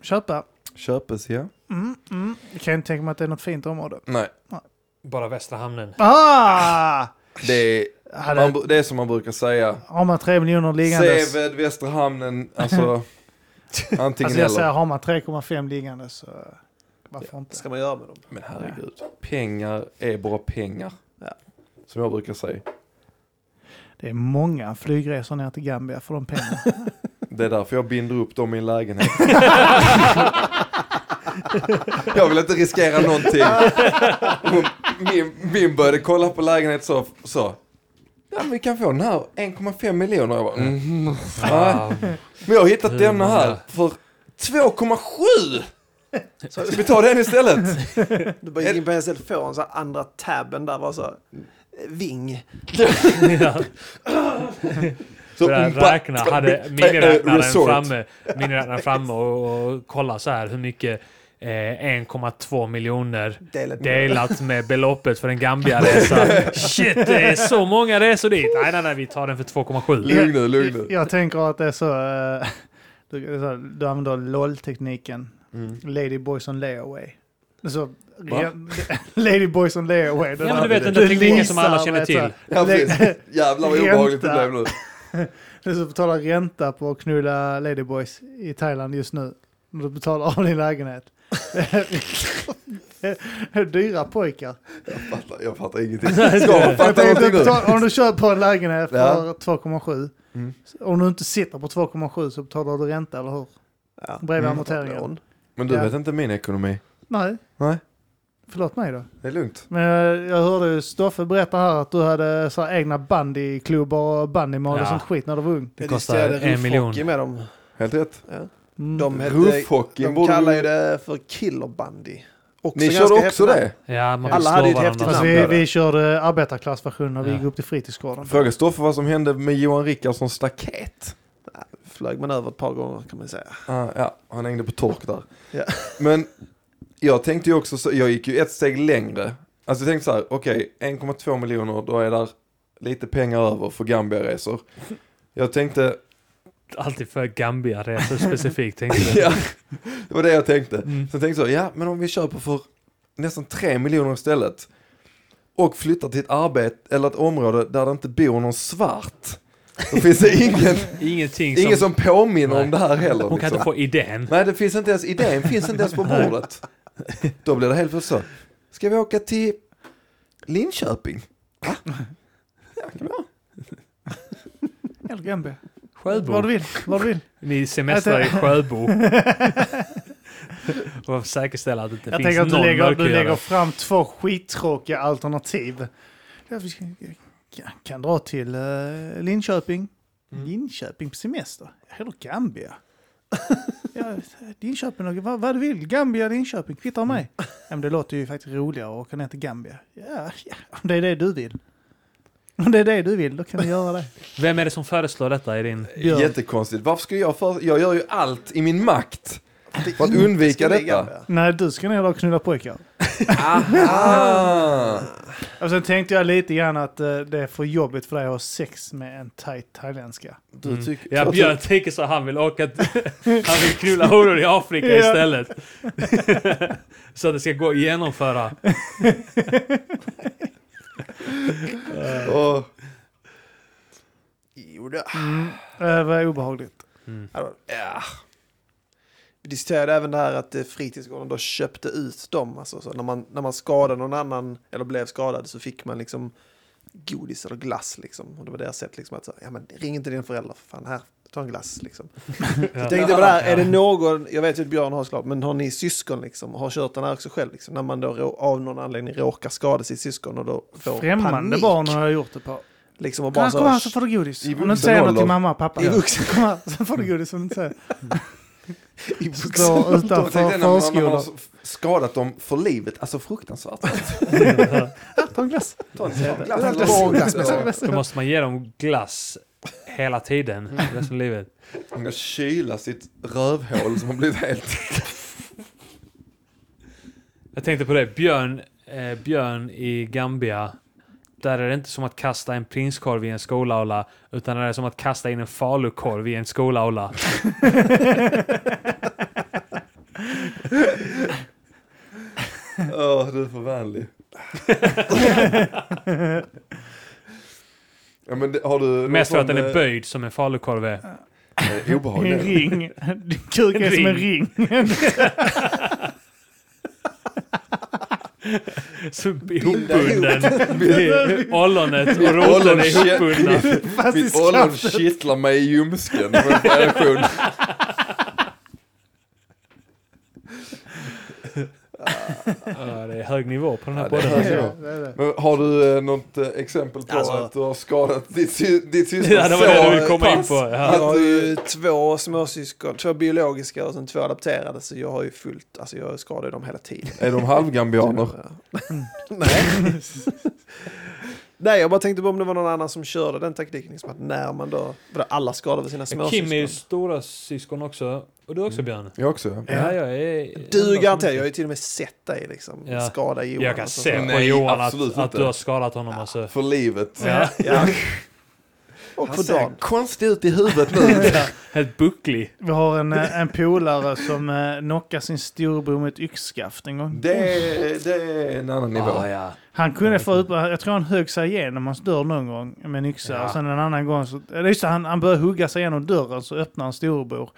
Köpa. Köpes ja. Mm, mm. Jag kan inte tänka mig att det är något fint område. Nej. Bara Västra Hamnen. Ah! Det är, Hade, man, bru- det är som man brukar säga. har man tre miljoner liggandes. Seved, Västra Hamnen, alltså. Antingen Alltså jag säger, eller. har man 3,5 liggandes så varför inte? Ska man göra med dem? Men herregud. Pengar är bara pengar. Ja. Som jag brukar säga. Det är många flygresor ner till Gambia för de pengarna. Det är därför jag binder upp dem i en lägenhet. jag vill inte riskera någonting. Hon, min, min började kolla på lägenhet så. så. Ja, men vi kan få den här 1,5 miljoner. Jag bara, mm, ja. Men jag har hittat denna här för 2,7! Ska vi ta den istället? Du bara gick in på hennes telefon, så här andra tabben där var så här, eh, Ving. Så, Börjar räkna, hade miniräknaren framme, miniräknaren framme och, och kolla så här hur mycket eh, 1,2 miljoner Delat med- delat med beloppet för en Gambia-resa. Shit, det är så många resor dit! Nej, nej, nej, vi tar den för 2,7. Lugn nu, lugn nu. Jag tänker att det är så... eh, Du, det är så här, du använder LOL-tekniken. Mm. Lady Boys on Layaway. Så, Va? ja, Lady Boys on Layaway. Ja, men du vet den där tekniken som alla känner till. Ja, precis. Jävlar vad obehagligt det Ränta. blev nu. Du som betalar ränta på att knulla Ladyboys i Thailand just nu. När du betalar av din lägenhet. Det är Dyra pojkar. Jag fattar, jag fattar ingenting. Ska man fatta Om du, någonting nu? betal- om du köper en lägenhet för Ja. 2,7. Mm. Om du inte sitter på 2,7 så betalar du ränta, eller hur? Ja. Bredvid Mm. amorteringen. Men du Ja. vet inte min ekonomi. Nej. Nej. Förlåt mig då. Det är lugnt. Men jag, jag hörde ju Stoffe berätta här att du hade så här egna bandyklubbar och bandymål och Ja. sånt skit när du var ung. Det Jag kostar diskuterade en miljon. roofhockey med dem. Helt rätt. Mm. De, hette, Roofhockeyn eh, de borde kallar vi- ju det för killerbandy. Också Ni ganska körde häftigt också namn. det? Ja, man Alla hade ju förstår ett häftigt Fast varandra. namn. vi, där. vi körde arbetarklassversion när vi Ja. gick upp till fritidsgården. Fråga Stoffe vad som hände med Johan Rickardssons staket. Flög man över ett par gånger kan man säga. Ah, ja, han hängde på tork där. Ja. Men jag tänkte ju också, så, jag gick ju ett steg längre. Alltså jag tänkte så här, okej, 1,2 miljoner, då är där lite pengar över för Gambia-resor. Jag tänkte, Alltid för Gambia-resor specifikt. tänkte ja, jag. det var det jag tänkte. Mm. Sen tänkte jag, ja men om vi köper för nästan 3 miljoner istället och flyttar till ett arbete eller ett område där det inte bor någon svart. Då finns det ingen, Ingenting som... ingen som påminner Nej. om det här heller. Hon kan liksom. inte få idén. Nej, det finns inte ens, idén finns inte ens på bordet. Då blir det helt plötsligt så. Ska vi åka till Linköping? Eller Gambia. Vad du Sjöbo. vill. Vad du vill. Ni semestrar i Jag Sjöbo. Och säkerställa att det inte Jag finns tänker någon att du lägger, du mörkhyade. lägger fram två skittråkiga alternativ. Ja, vi ska, jag kan dra till eh, Linköping. Mm. Linköping på semester? Eller Gambia? ja, Linköping, och- vad, vad du vill. Gambia, Linköping, kvittar Mm. mig. Ja, men det låter ju faktiskt roligare att åka ner till Gambia. Ja, ja, om det är det du vill. Om det är det du vill, då kan du göra det. Vem är det som föreslår detta i din... Björn. Jättekonstigt. Varför ska jag för... Jag gör ju allt i min makt för att undvika detta. Nej, du ska ner där och knulla pojkar. Ah. Och sen tänkte jag lite grann att eh, det är för jobbigt för dig att ha sex med en tight thailändska. Du tycker... Mm. Ja, Björn tänker så han vill åka... han vill knulla horor i Afrika Ja. istället. så att det ska gå att genomföra. Alltså- Åh, Jo, det- Eh, Mm. Det var obehagligt. Ja, diskuterade även det här att eh, fritidsgården då köpte ut dem. Alltså, så när, man, när man skadade någon annan eller blev skadad så fick man liksom godis eller glass liksom. Och det var deras sätt liksom att så, ja, men ring inte din förälder för fan här, ta en glass liksom. Jag tänkte på det här, är det någon, jag vet ju att Björn har såklart, men har ni syskon liksom? Har kört den här också själv liksom? När man då rå- av någon anledning råkar skada sitt syskon och då får Främmande panik. barn har jag gjort det på. Liksom och bara Kom, så, kom här så får du godis. I Om du vuxen inte säger något ålder. till mamma och pappa. I vuxen- Kom här så får du godis om du inte säger. i vuxen Står Jag tänkte utanför när man, när man har förskolan. s- skadat dem för livet, alltså fruktansvärt. Ta en glass. Ta en sån glass. glass. Ta en glass med sig. Då måste man ge dem glass hela tiden, Mm. resten av livet. Man kan kyla sitt rövhål som har blivit helt... Jag tänkte på det, björn, eh, björn i Gambia. Där är det inte som att kasta en prinskorv i en skolaula, utan det är som att kasta in en falukorv i en skolaula. Åh, du är för vänlig. ja, men det- har du... Mest för någon eh, att den sån, är böjd som en falukorv är. eh, obehaglig. En ring. Din kuk är som en ring. Så ihopbunden. Ollonet och roten Ollon är shit- ihopbundna. Fast i Mitt ollon skaft. kittlar mig i ljumsken. Det var en variation. Ja, det är hög nivå på den Ja, här det är podden. hög nivå. Men har du eh, något eh, exempel på Alltså- att du har skadat ditt, sy- ditt syskon Ja, det var det du så kom in pass på. Ja. Jag har ju två småsyskon, två biologiska och sen två adopterade, så jag har ju fullt, alltså jag skadar ju dem hela tiden. Är de halvgambianer? Ja. Nej. Nej, jag bara tänkte på om det var någon annan som körde den taktiken, liksom att när man då, för alla skadar väl sina Kim är ju småsyskon. stora syskon också. Och du också Björn? Jag också. Ja, jag är... Du garanterar, jag har ju till och med sett dig liksom Ja. skada Johan. Jag kan och så. se på Nej, Johan absolut att, att inte. du har skadat honom alltså. För livet. Ja. Ja. Och på dagen. konstigt ut i huvudet nu. Helt bucklig. Vi har en, eh, en polare som eh, knockar sin storbror med ett yxskaft en gång. Det är, det är en annan nivå. Ah, ja. Han kunde få ut, jag tror han högg sig igenom hans dörr någon gång med en yxa. Ja. Och sen en annan gång så, eller just det, han, han började hugga sig igenom dörren så öppnar han storebror.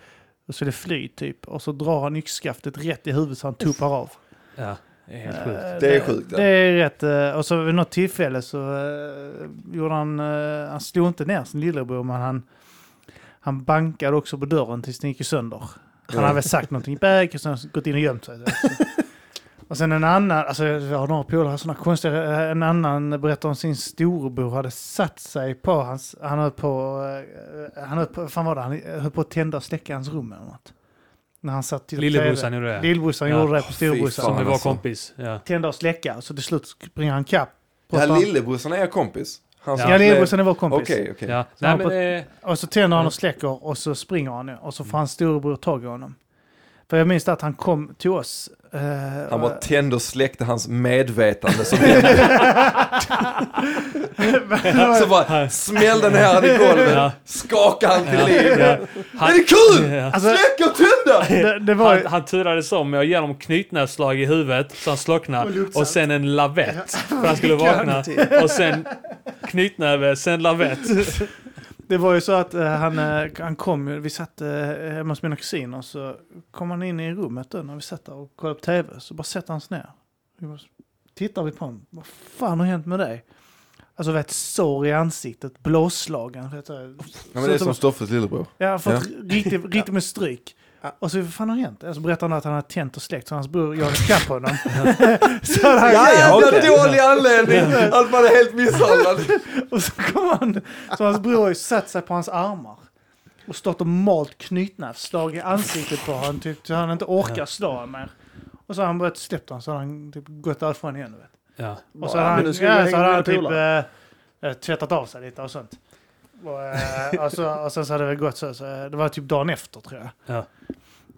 Och så är det fly typ. Och så drar han yxskaftet rätt i huvudet så han tuppar av. Ja, det är helt sjukt. Eh, Det är sjukt, ja. Det är rätt. eh, Och så vid något tillfälle så eh, gjorde han, eh, han slog inte ner sin lillebror men han, han bankade också på dörren tills den gick sönder. Han hade väl sagt någonting bäg och sen gått in och gömt sig. Och sen en annan, alltså jag har några polare, sådana konstiga, eh, en annan berättar om sin storbror hade satt sig på hans, han höll på, eh, han höll på, fan var det, han höll på att tända och släcka hans rum eller något. När han satt till Lillebrorsan gjorde det. Lillebrorsan Ja. gjorde det Åh, på fy storebrorsan Som fan. är vår alltså. kompis. Ja. tända och släcka. Så till slut springer han kapp. Det här lillebrorsan är er kompis? Han som ja, blev- lillebrorsan är vår kompis. Okej, okej. Ja. Så Nej, han men, på- eh, Och så tänder han och släcker och så springer han. Och så får hans storebror tag i honom. För jag minns att han kom till oss. eh, Han bara och- tände och släckte hans medvetande som hände. Så bara smällde ner den i golvet, Ja. skakade han till ja, liv. ja. Är Han, det kul? Ja. Alltså- Släck och tända! det, det var han, han turades om med att ge honom knytnävsslag i huvudet så han slocknade. Och, sen en lavett för han skulle vakna. Och sen knytnäve, sen lavett. Det var ju så att eh, han, eh, han kom ju, vi satt eh, hemma hos mina kusiner så kom han in i rummet då när vi satt där och kollade på tv så bara sätter han sig ner. Vi bara, tittar vi på honom, vad fan har hänt med dig? Alltså vet sår i ansiktet, blåslagen. Vet, du. Ja, men det är som Stoffes lillebror. Ja, han fått riktigt, riktigt med stryk. Ja. Och så vad fan har hänt? Och så berättar han att han har tänt och släckt så hans bror jagade ikapp honom. så hade han, Jävla dålig anledning att man är helt misshandlad. och så kom han, så hans bror har ju satt sig på hans armar. Och stått och malt knytnävsslag i ansiktet på honom typ, så han inte orkar slå honom mer. Och så har han börjat släppa honom så har han typ gått därifrån igen. du Vet. Ja. Och så har Ja, men han, nu ja, ska vi hänga så har med han typ polare. eh, eh, tvättat av sig lite och sånt. Och, eh, och, så, och sen så hade det väl gått så, så, eh, det var typ dagen efter tror jag. Ja.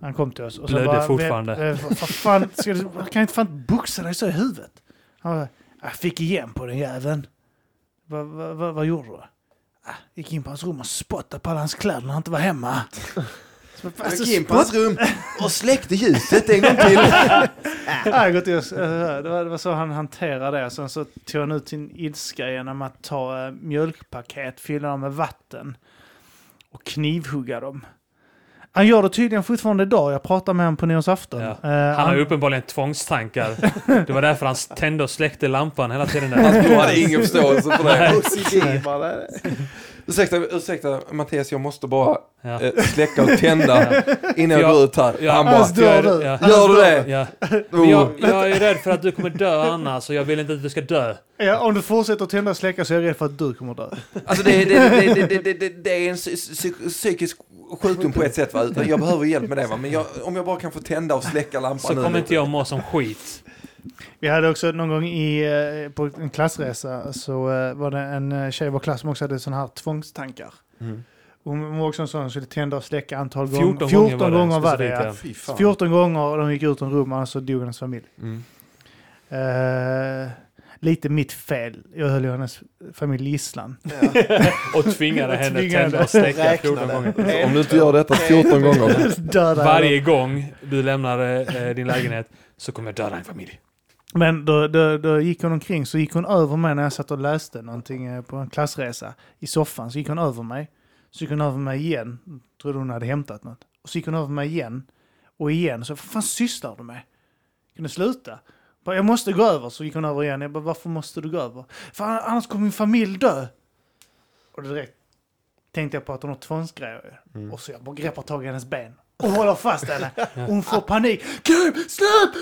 Han kom till oss. Och så Blödde bara, fortfarande. "Vet- eh, Vad vad fan, ska du, kan jag inte fan boxa dig så i huvudet? Han bara, jag fick igen på den jäveln. Vad vad- vad- vad gjorde du? "Ah, Gick in på hans rum och spottade på alla hans kläder när han inte var hemma. Så, bara, Jag "Alltså, gick in på hans rum och släckte ljuset en gång till. Ja, jag går till oss. Eh, Det var, det var så han hanterade det. Sen så tog han ut sin ilska genom att ta eh, mjölkpaket, fylla dem med vatten och knivhugga dem. Han gör det tydligen fortfarande idag. Jag pratade med honom på nyårsafton. Ja. Eh, Han har han- ju uppenbarligen tvångstankar. Det var därför han tände och släckte lampan hela tiden. Han Där. hade ingen förståelse för det. OCD bara. Ursäkta, ursäkta Mattias, jag måste bara Ja. eh, släcka och tända innan jag Ja. går ut här. Ja. Han bara, Annars dör du. Ja. gör du det? Ja. Men Oh. jag, jag är rädd för att du kommer dö annars och jag vill inte att du ska dö. Ja, om du fortsätter att tända och släcka så är jag rädd för att du kommer dö. Alltså det, det, det, det, det, det, det är en psy- psy- psykisk sjukdom på ett sätt va, utan jag behöver hjälp med det va, men jag, om jag bara kan få tända och släcka lampan Så nu kommer lite. inte jag må som skit. Vi hade också någon gång i, eh, på en klassresa så eh, var det en eh, tjej i vår klass som också hade sådana här tvångstankar. Mm. Hon hon var också en sån som skulle tända och släcka antal gånger. 14 14 gånger var det gånger var det. specifikt, ja. Fy ja. fan. 14 gånger och de gick ut ur rummet och så dog hennes familj. Mm. Eh, lite mitt fel. Jag höll ju hennes familj gisslan. Och tvingade Jag henne tvingade. tända och släcka Räknade. 14 gånger. Om du inte gör detta 14 gånger. Döda Varje gång du lämnar eh, din lägenhet så kommer jag döda en familj. Men då, då, då gick hon omkring, så gick hon över mig när jag satt och läste någonting eh, på en klassresa i soffan. Så gick hon över mig. Så gick hon över mig igen. Trodde hon hade hämtat något. Och så gick hon över mig igen. Och igen. Så vad fan sysslar du med? Kan du sluta? Bara, jag måste gå över. Så gick hon över igen. Jag bara, varför måste du gå över? För an- annars kommer min familj dö. Och direkt tänkte jag på att hon har tvångsgrejer. Och så jag bara greppar tag i hennes ben. Och håller fast henne. Och hon får panik. Gud, släpp,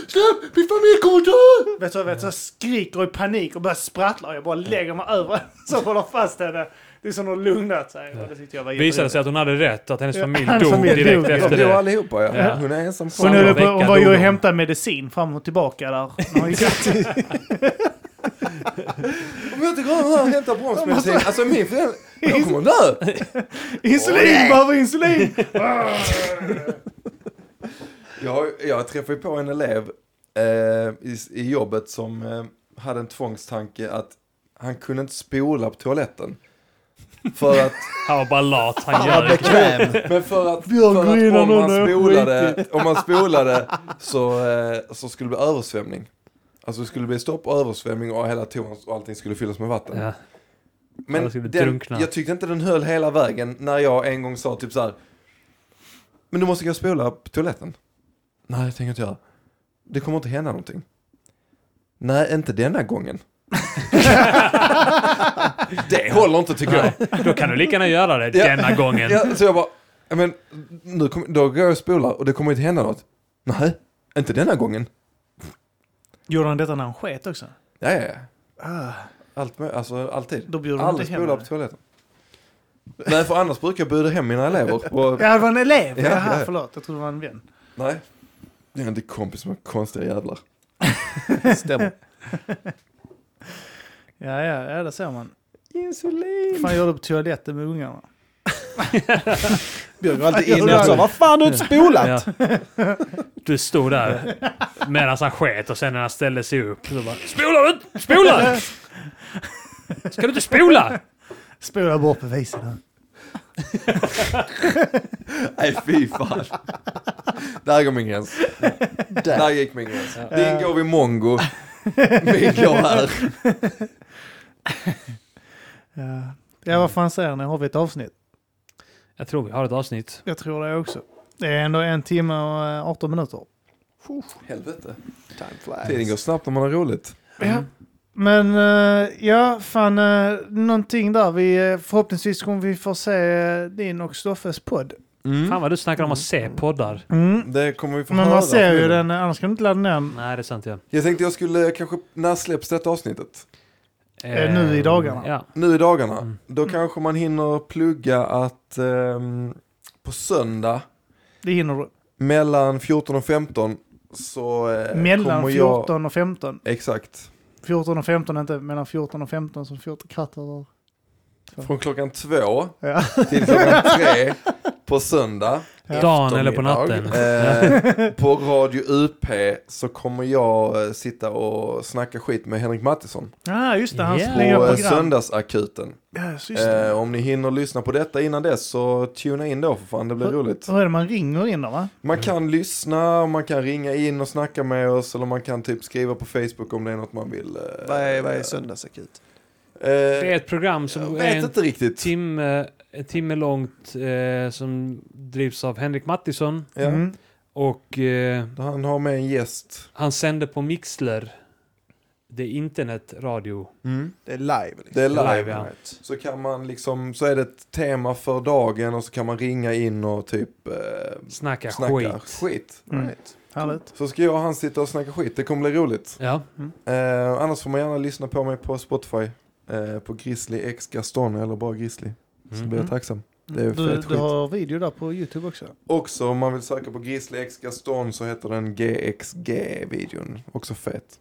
släpp, min familj kommer dö! Vet du vad, vet du, jag skriker i panik och börjar sprattla och jag bara lägger mig över så jag håller fast henne. Det är som hon har lugnat sig. Och det tyckte jag var Visade jätteroligt. sig att hon hade rätt, att hennes Ja, familj hennes dog familj direkt dog. efter De dog det. allihopa ja. Ja. Hon är ensam kvar. Hon, höll på, vecka hon var ju dog och hon. hämtade medicin fram och tillbaka där. När hon gick ut. Om jag inte går över här och hämtar bromsmedicin, alltså min förälder, jag kommer dö! insulin, behöver insulin! Jag, jag träffade ju på en elev eh, i, i jobbet som eh, hade en tvångstanke att han kunde inte spola på toaletten. För att, Han var bara lat, han gör det. men för att, Björn för grinar att om, nu, han nu har jag spolade, om han spolade så, eh, så skulle det bli översvämning. Alltså det skulle bli stopp och översvämning och hela toan och allting skulle fyllas med vatten. Ja. Alla skulle Men den, drunkna. jag tyckte inte den höll hela vägen när jag en gång sa typ så här. Men du måste gå och spola på toaletten. Nej, det tänker jag inte göra. Det kommer inte hända någonting. Nej, inte denna gången. det håller inte tycker jag. Då kan du lika gärna göra det Ja. denna gången. Ja, så jag bara, "Ja, men nu kom, då går jag och spolar och det kommer inte hända något. Nej, inte denna gången. Gjorde han detta när han sket också? Ja, ja, ja. Allt med, alltså alltid. Ah. Då bjuder han Aldrig inte spola hem på toaletten. Nej, för annars brukar jag bjuda hem mina elever på Ja, det var en elev. Ja, Jaha, ja. förlåt. Jag trodde det var en vän. Nej. Det är inte kompis med konstiga jävlar. Stämmer. Ja, ja, ja, det ser man. Insulin! Fan gör du på toaletten med ungarna? Björn går alltid in och sa vad fan har du inte spolat? Ja. Du stod där medan han sket och sen när han ställde sig upp så bara Spola! du inte? Spola! Ska du inte spola? Spola bort bevisen här. Nej fy fan. Där går min gräns. Där gick min gräns. Din går vid mongo. Min går här. Ja. ja, vad fan säger ni? Har vi ett avsnitt? Jag tror vi har ett avsnitt. Jag tror det också. Det är ändå en timme och eh, 18 minuter. Helvete. Time flies. Tiden går snabbt när man har roligt. Ja. Men eh, ja, fan eh, någonting där. Vi, eh, förhoppningsvis kommer vi få se eh, din och Stoffes podd. Fan vad du snackar om att se poddar. Mm. Mm. Det kommer vi få Men höra man ser ju förmodligen. den, eh, annars kan du inte ladda ner den. Nej, det är sant ja. Jag tänkte jag skulle kanske, när släpps detta avsnittet? Eh, nu i dagarna. Ehm, Ja. Nu i dagarna. Mm. Då kanske man hinner plugga att ehm, på söndag Det hinner du. mellan 14 och 15 så eh, Mellan kommer jag... 14 och 15. Exakt. 14 och 15 är inte mellan 14 och 15 som 14 kvart över. Från klockan två Ja. till klockan tre på söndag. Dagen eller på eftermiddag, natten. Eh, på Radio UP så kommer jag eh, sitta och snacka skit med Henrik Mattisson. Ja, ah, just det. Hans Yeah. På nya eh, program. Söndagsakuten. Ja, just det. Eh, om ni hinner lyssna på detta innan dess så tuna in då för fan, det blir roligt. Hur är det man ringer in då, va? Man kan lyssna, och man kan ringa in och snacka med oss eller man kan typ skriva på Facebook om det är något man vill. eh, Vad är, vad är söndagsakut? eh, Det är ett program som jag är vet en inte riktigt. timme, en timme långt eh, som drivs av Henrik Mattisson. Ja. Mm. Och eh, Han har med en gäst. han sänder på Mixler. Det är internetradio. Det är live. Liksom. Det är live. Live, ja. Right. Så kan man liksom, så är det ett tema för dagen och så kan man ringa in och typ eh, Snacka, snacka skit. skit. Mm. Right. Härligt. Så ska jag och han sitta och snacka skit, det kommer bli roligt. Ja, Eh, annars får man gärna lyssna på mig på Spotify. Eh, på Grizzly X Gaston eller bara Grizzly. Så Mm. blir jag tacksam. Det är Du, fet du skit. har video där på YouTube också. Också om man vill söka på Grizzly X Gaston så heter den GXG-videon. Också fet.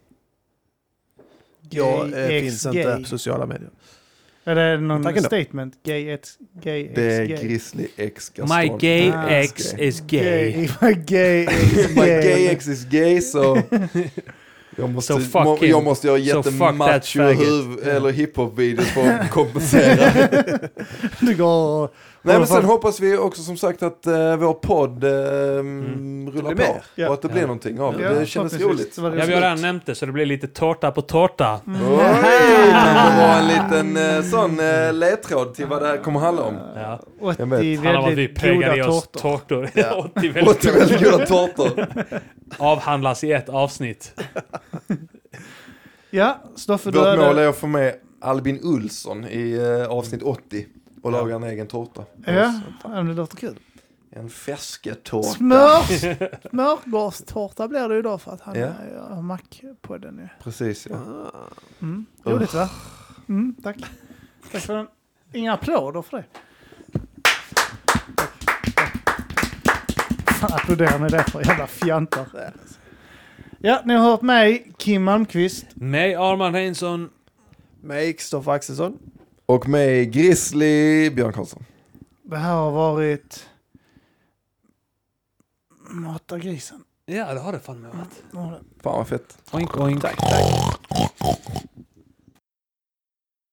Jag eh, Gay, finns ex, inte gay. på sociala medier. Är det någon Tack ändå. statement? Gay, ex, gay, ex, Det är gay. Grizzly X Gaston. My gay Ah. ex is gay. My gay ex, My gay. gay ex is gay så... Jag måste, So fuck må, him. jag måste göra So fuck that jättemacho faggot. huv- eller hiphop-videos för att kompensera. Du går och... Nej men Vad sen fan- hoppas vi också som sagt att eh, vår podd eh, rullar Mm. Det blir på. mer. Ja. Och att det blir Ja. någonting av det. Ja, det kändes förhoppningsvis. roligt. Det var Ja, vi har roligt. redan nämnt det så det blir lite tårta på tårta. Oj, Mm. det var en liten eh, sån eh, ledtråd till vad det här kommer handla om. Ja. 80 Jag vet. Han har Eh, väldigt vi prägade i goda oss tårtor. tårtor. Ja. 80 Och väldigt till väldigt goda tårtor. avhandlas i ett avsnitt. Ja, Stoffe, du Vårt är mål det. är att få med Albin Ulsson i eh, avsnitt 80 och laga en egen tårta. Ja, ja, det låter kul. En färsketårta. Smörs, smörgåstårta blir det idag för att han Ja. är- har mack på den ju. Precis ja. Mm. Roligt va? Mm, tack. Tack för den. Inga applåder för det. Fan applåderar ni det för jävla fjantar. Ja, ni har hört mig, Kim Malmqvist. Mig, Arman Heinsson. Med Kristoffer Axelsson. Och med Grizzly Björn Karlsson. Det här har varit... Mata grisen. Ja, det har det fan med varit. Ja, det- Fan vad fett. Oink, oink. Tack, tack.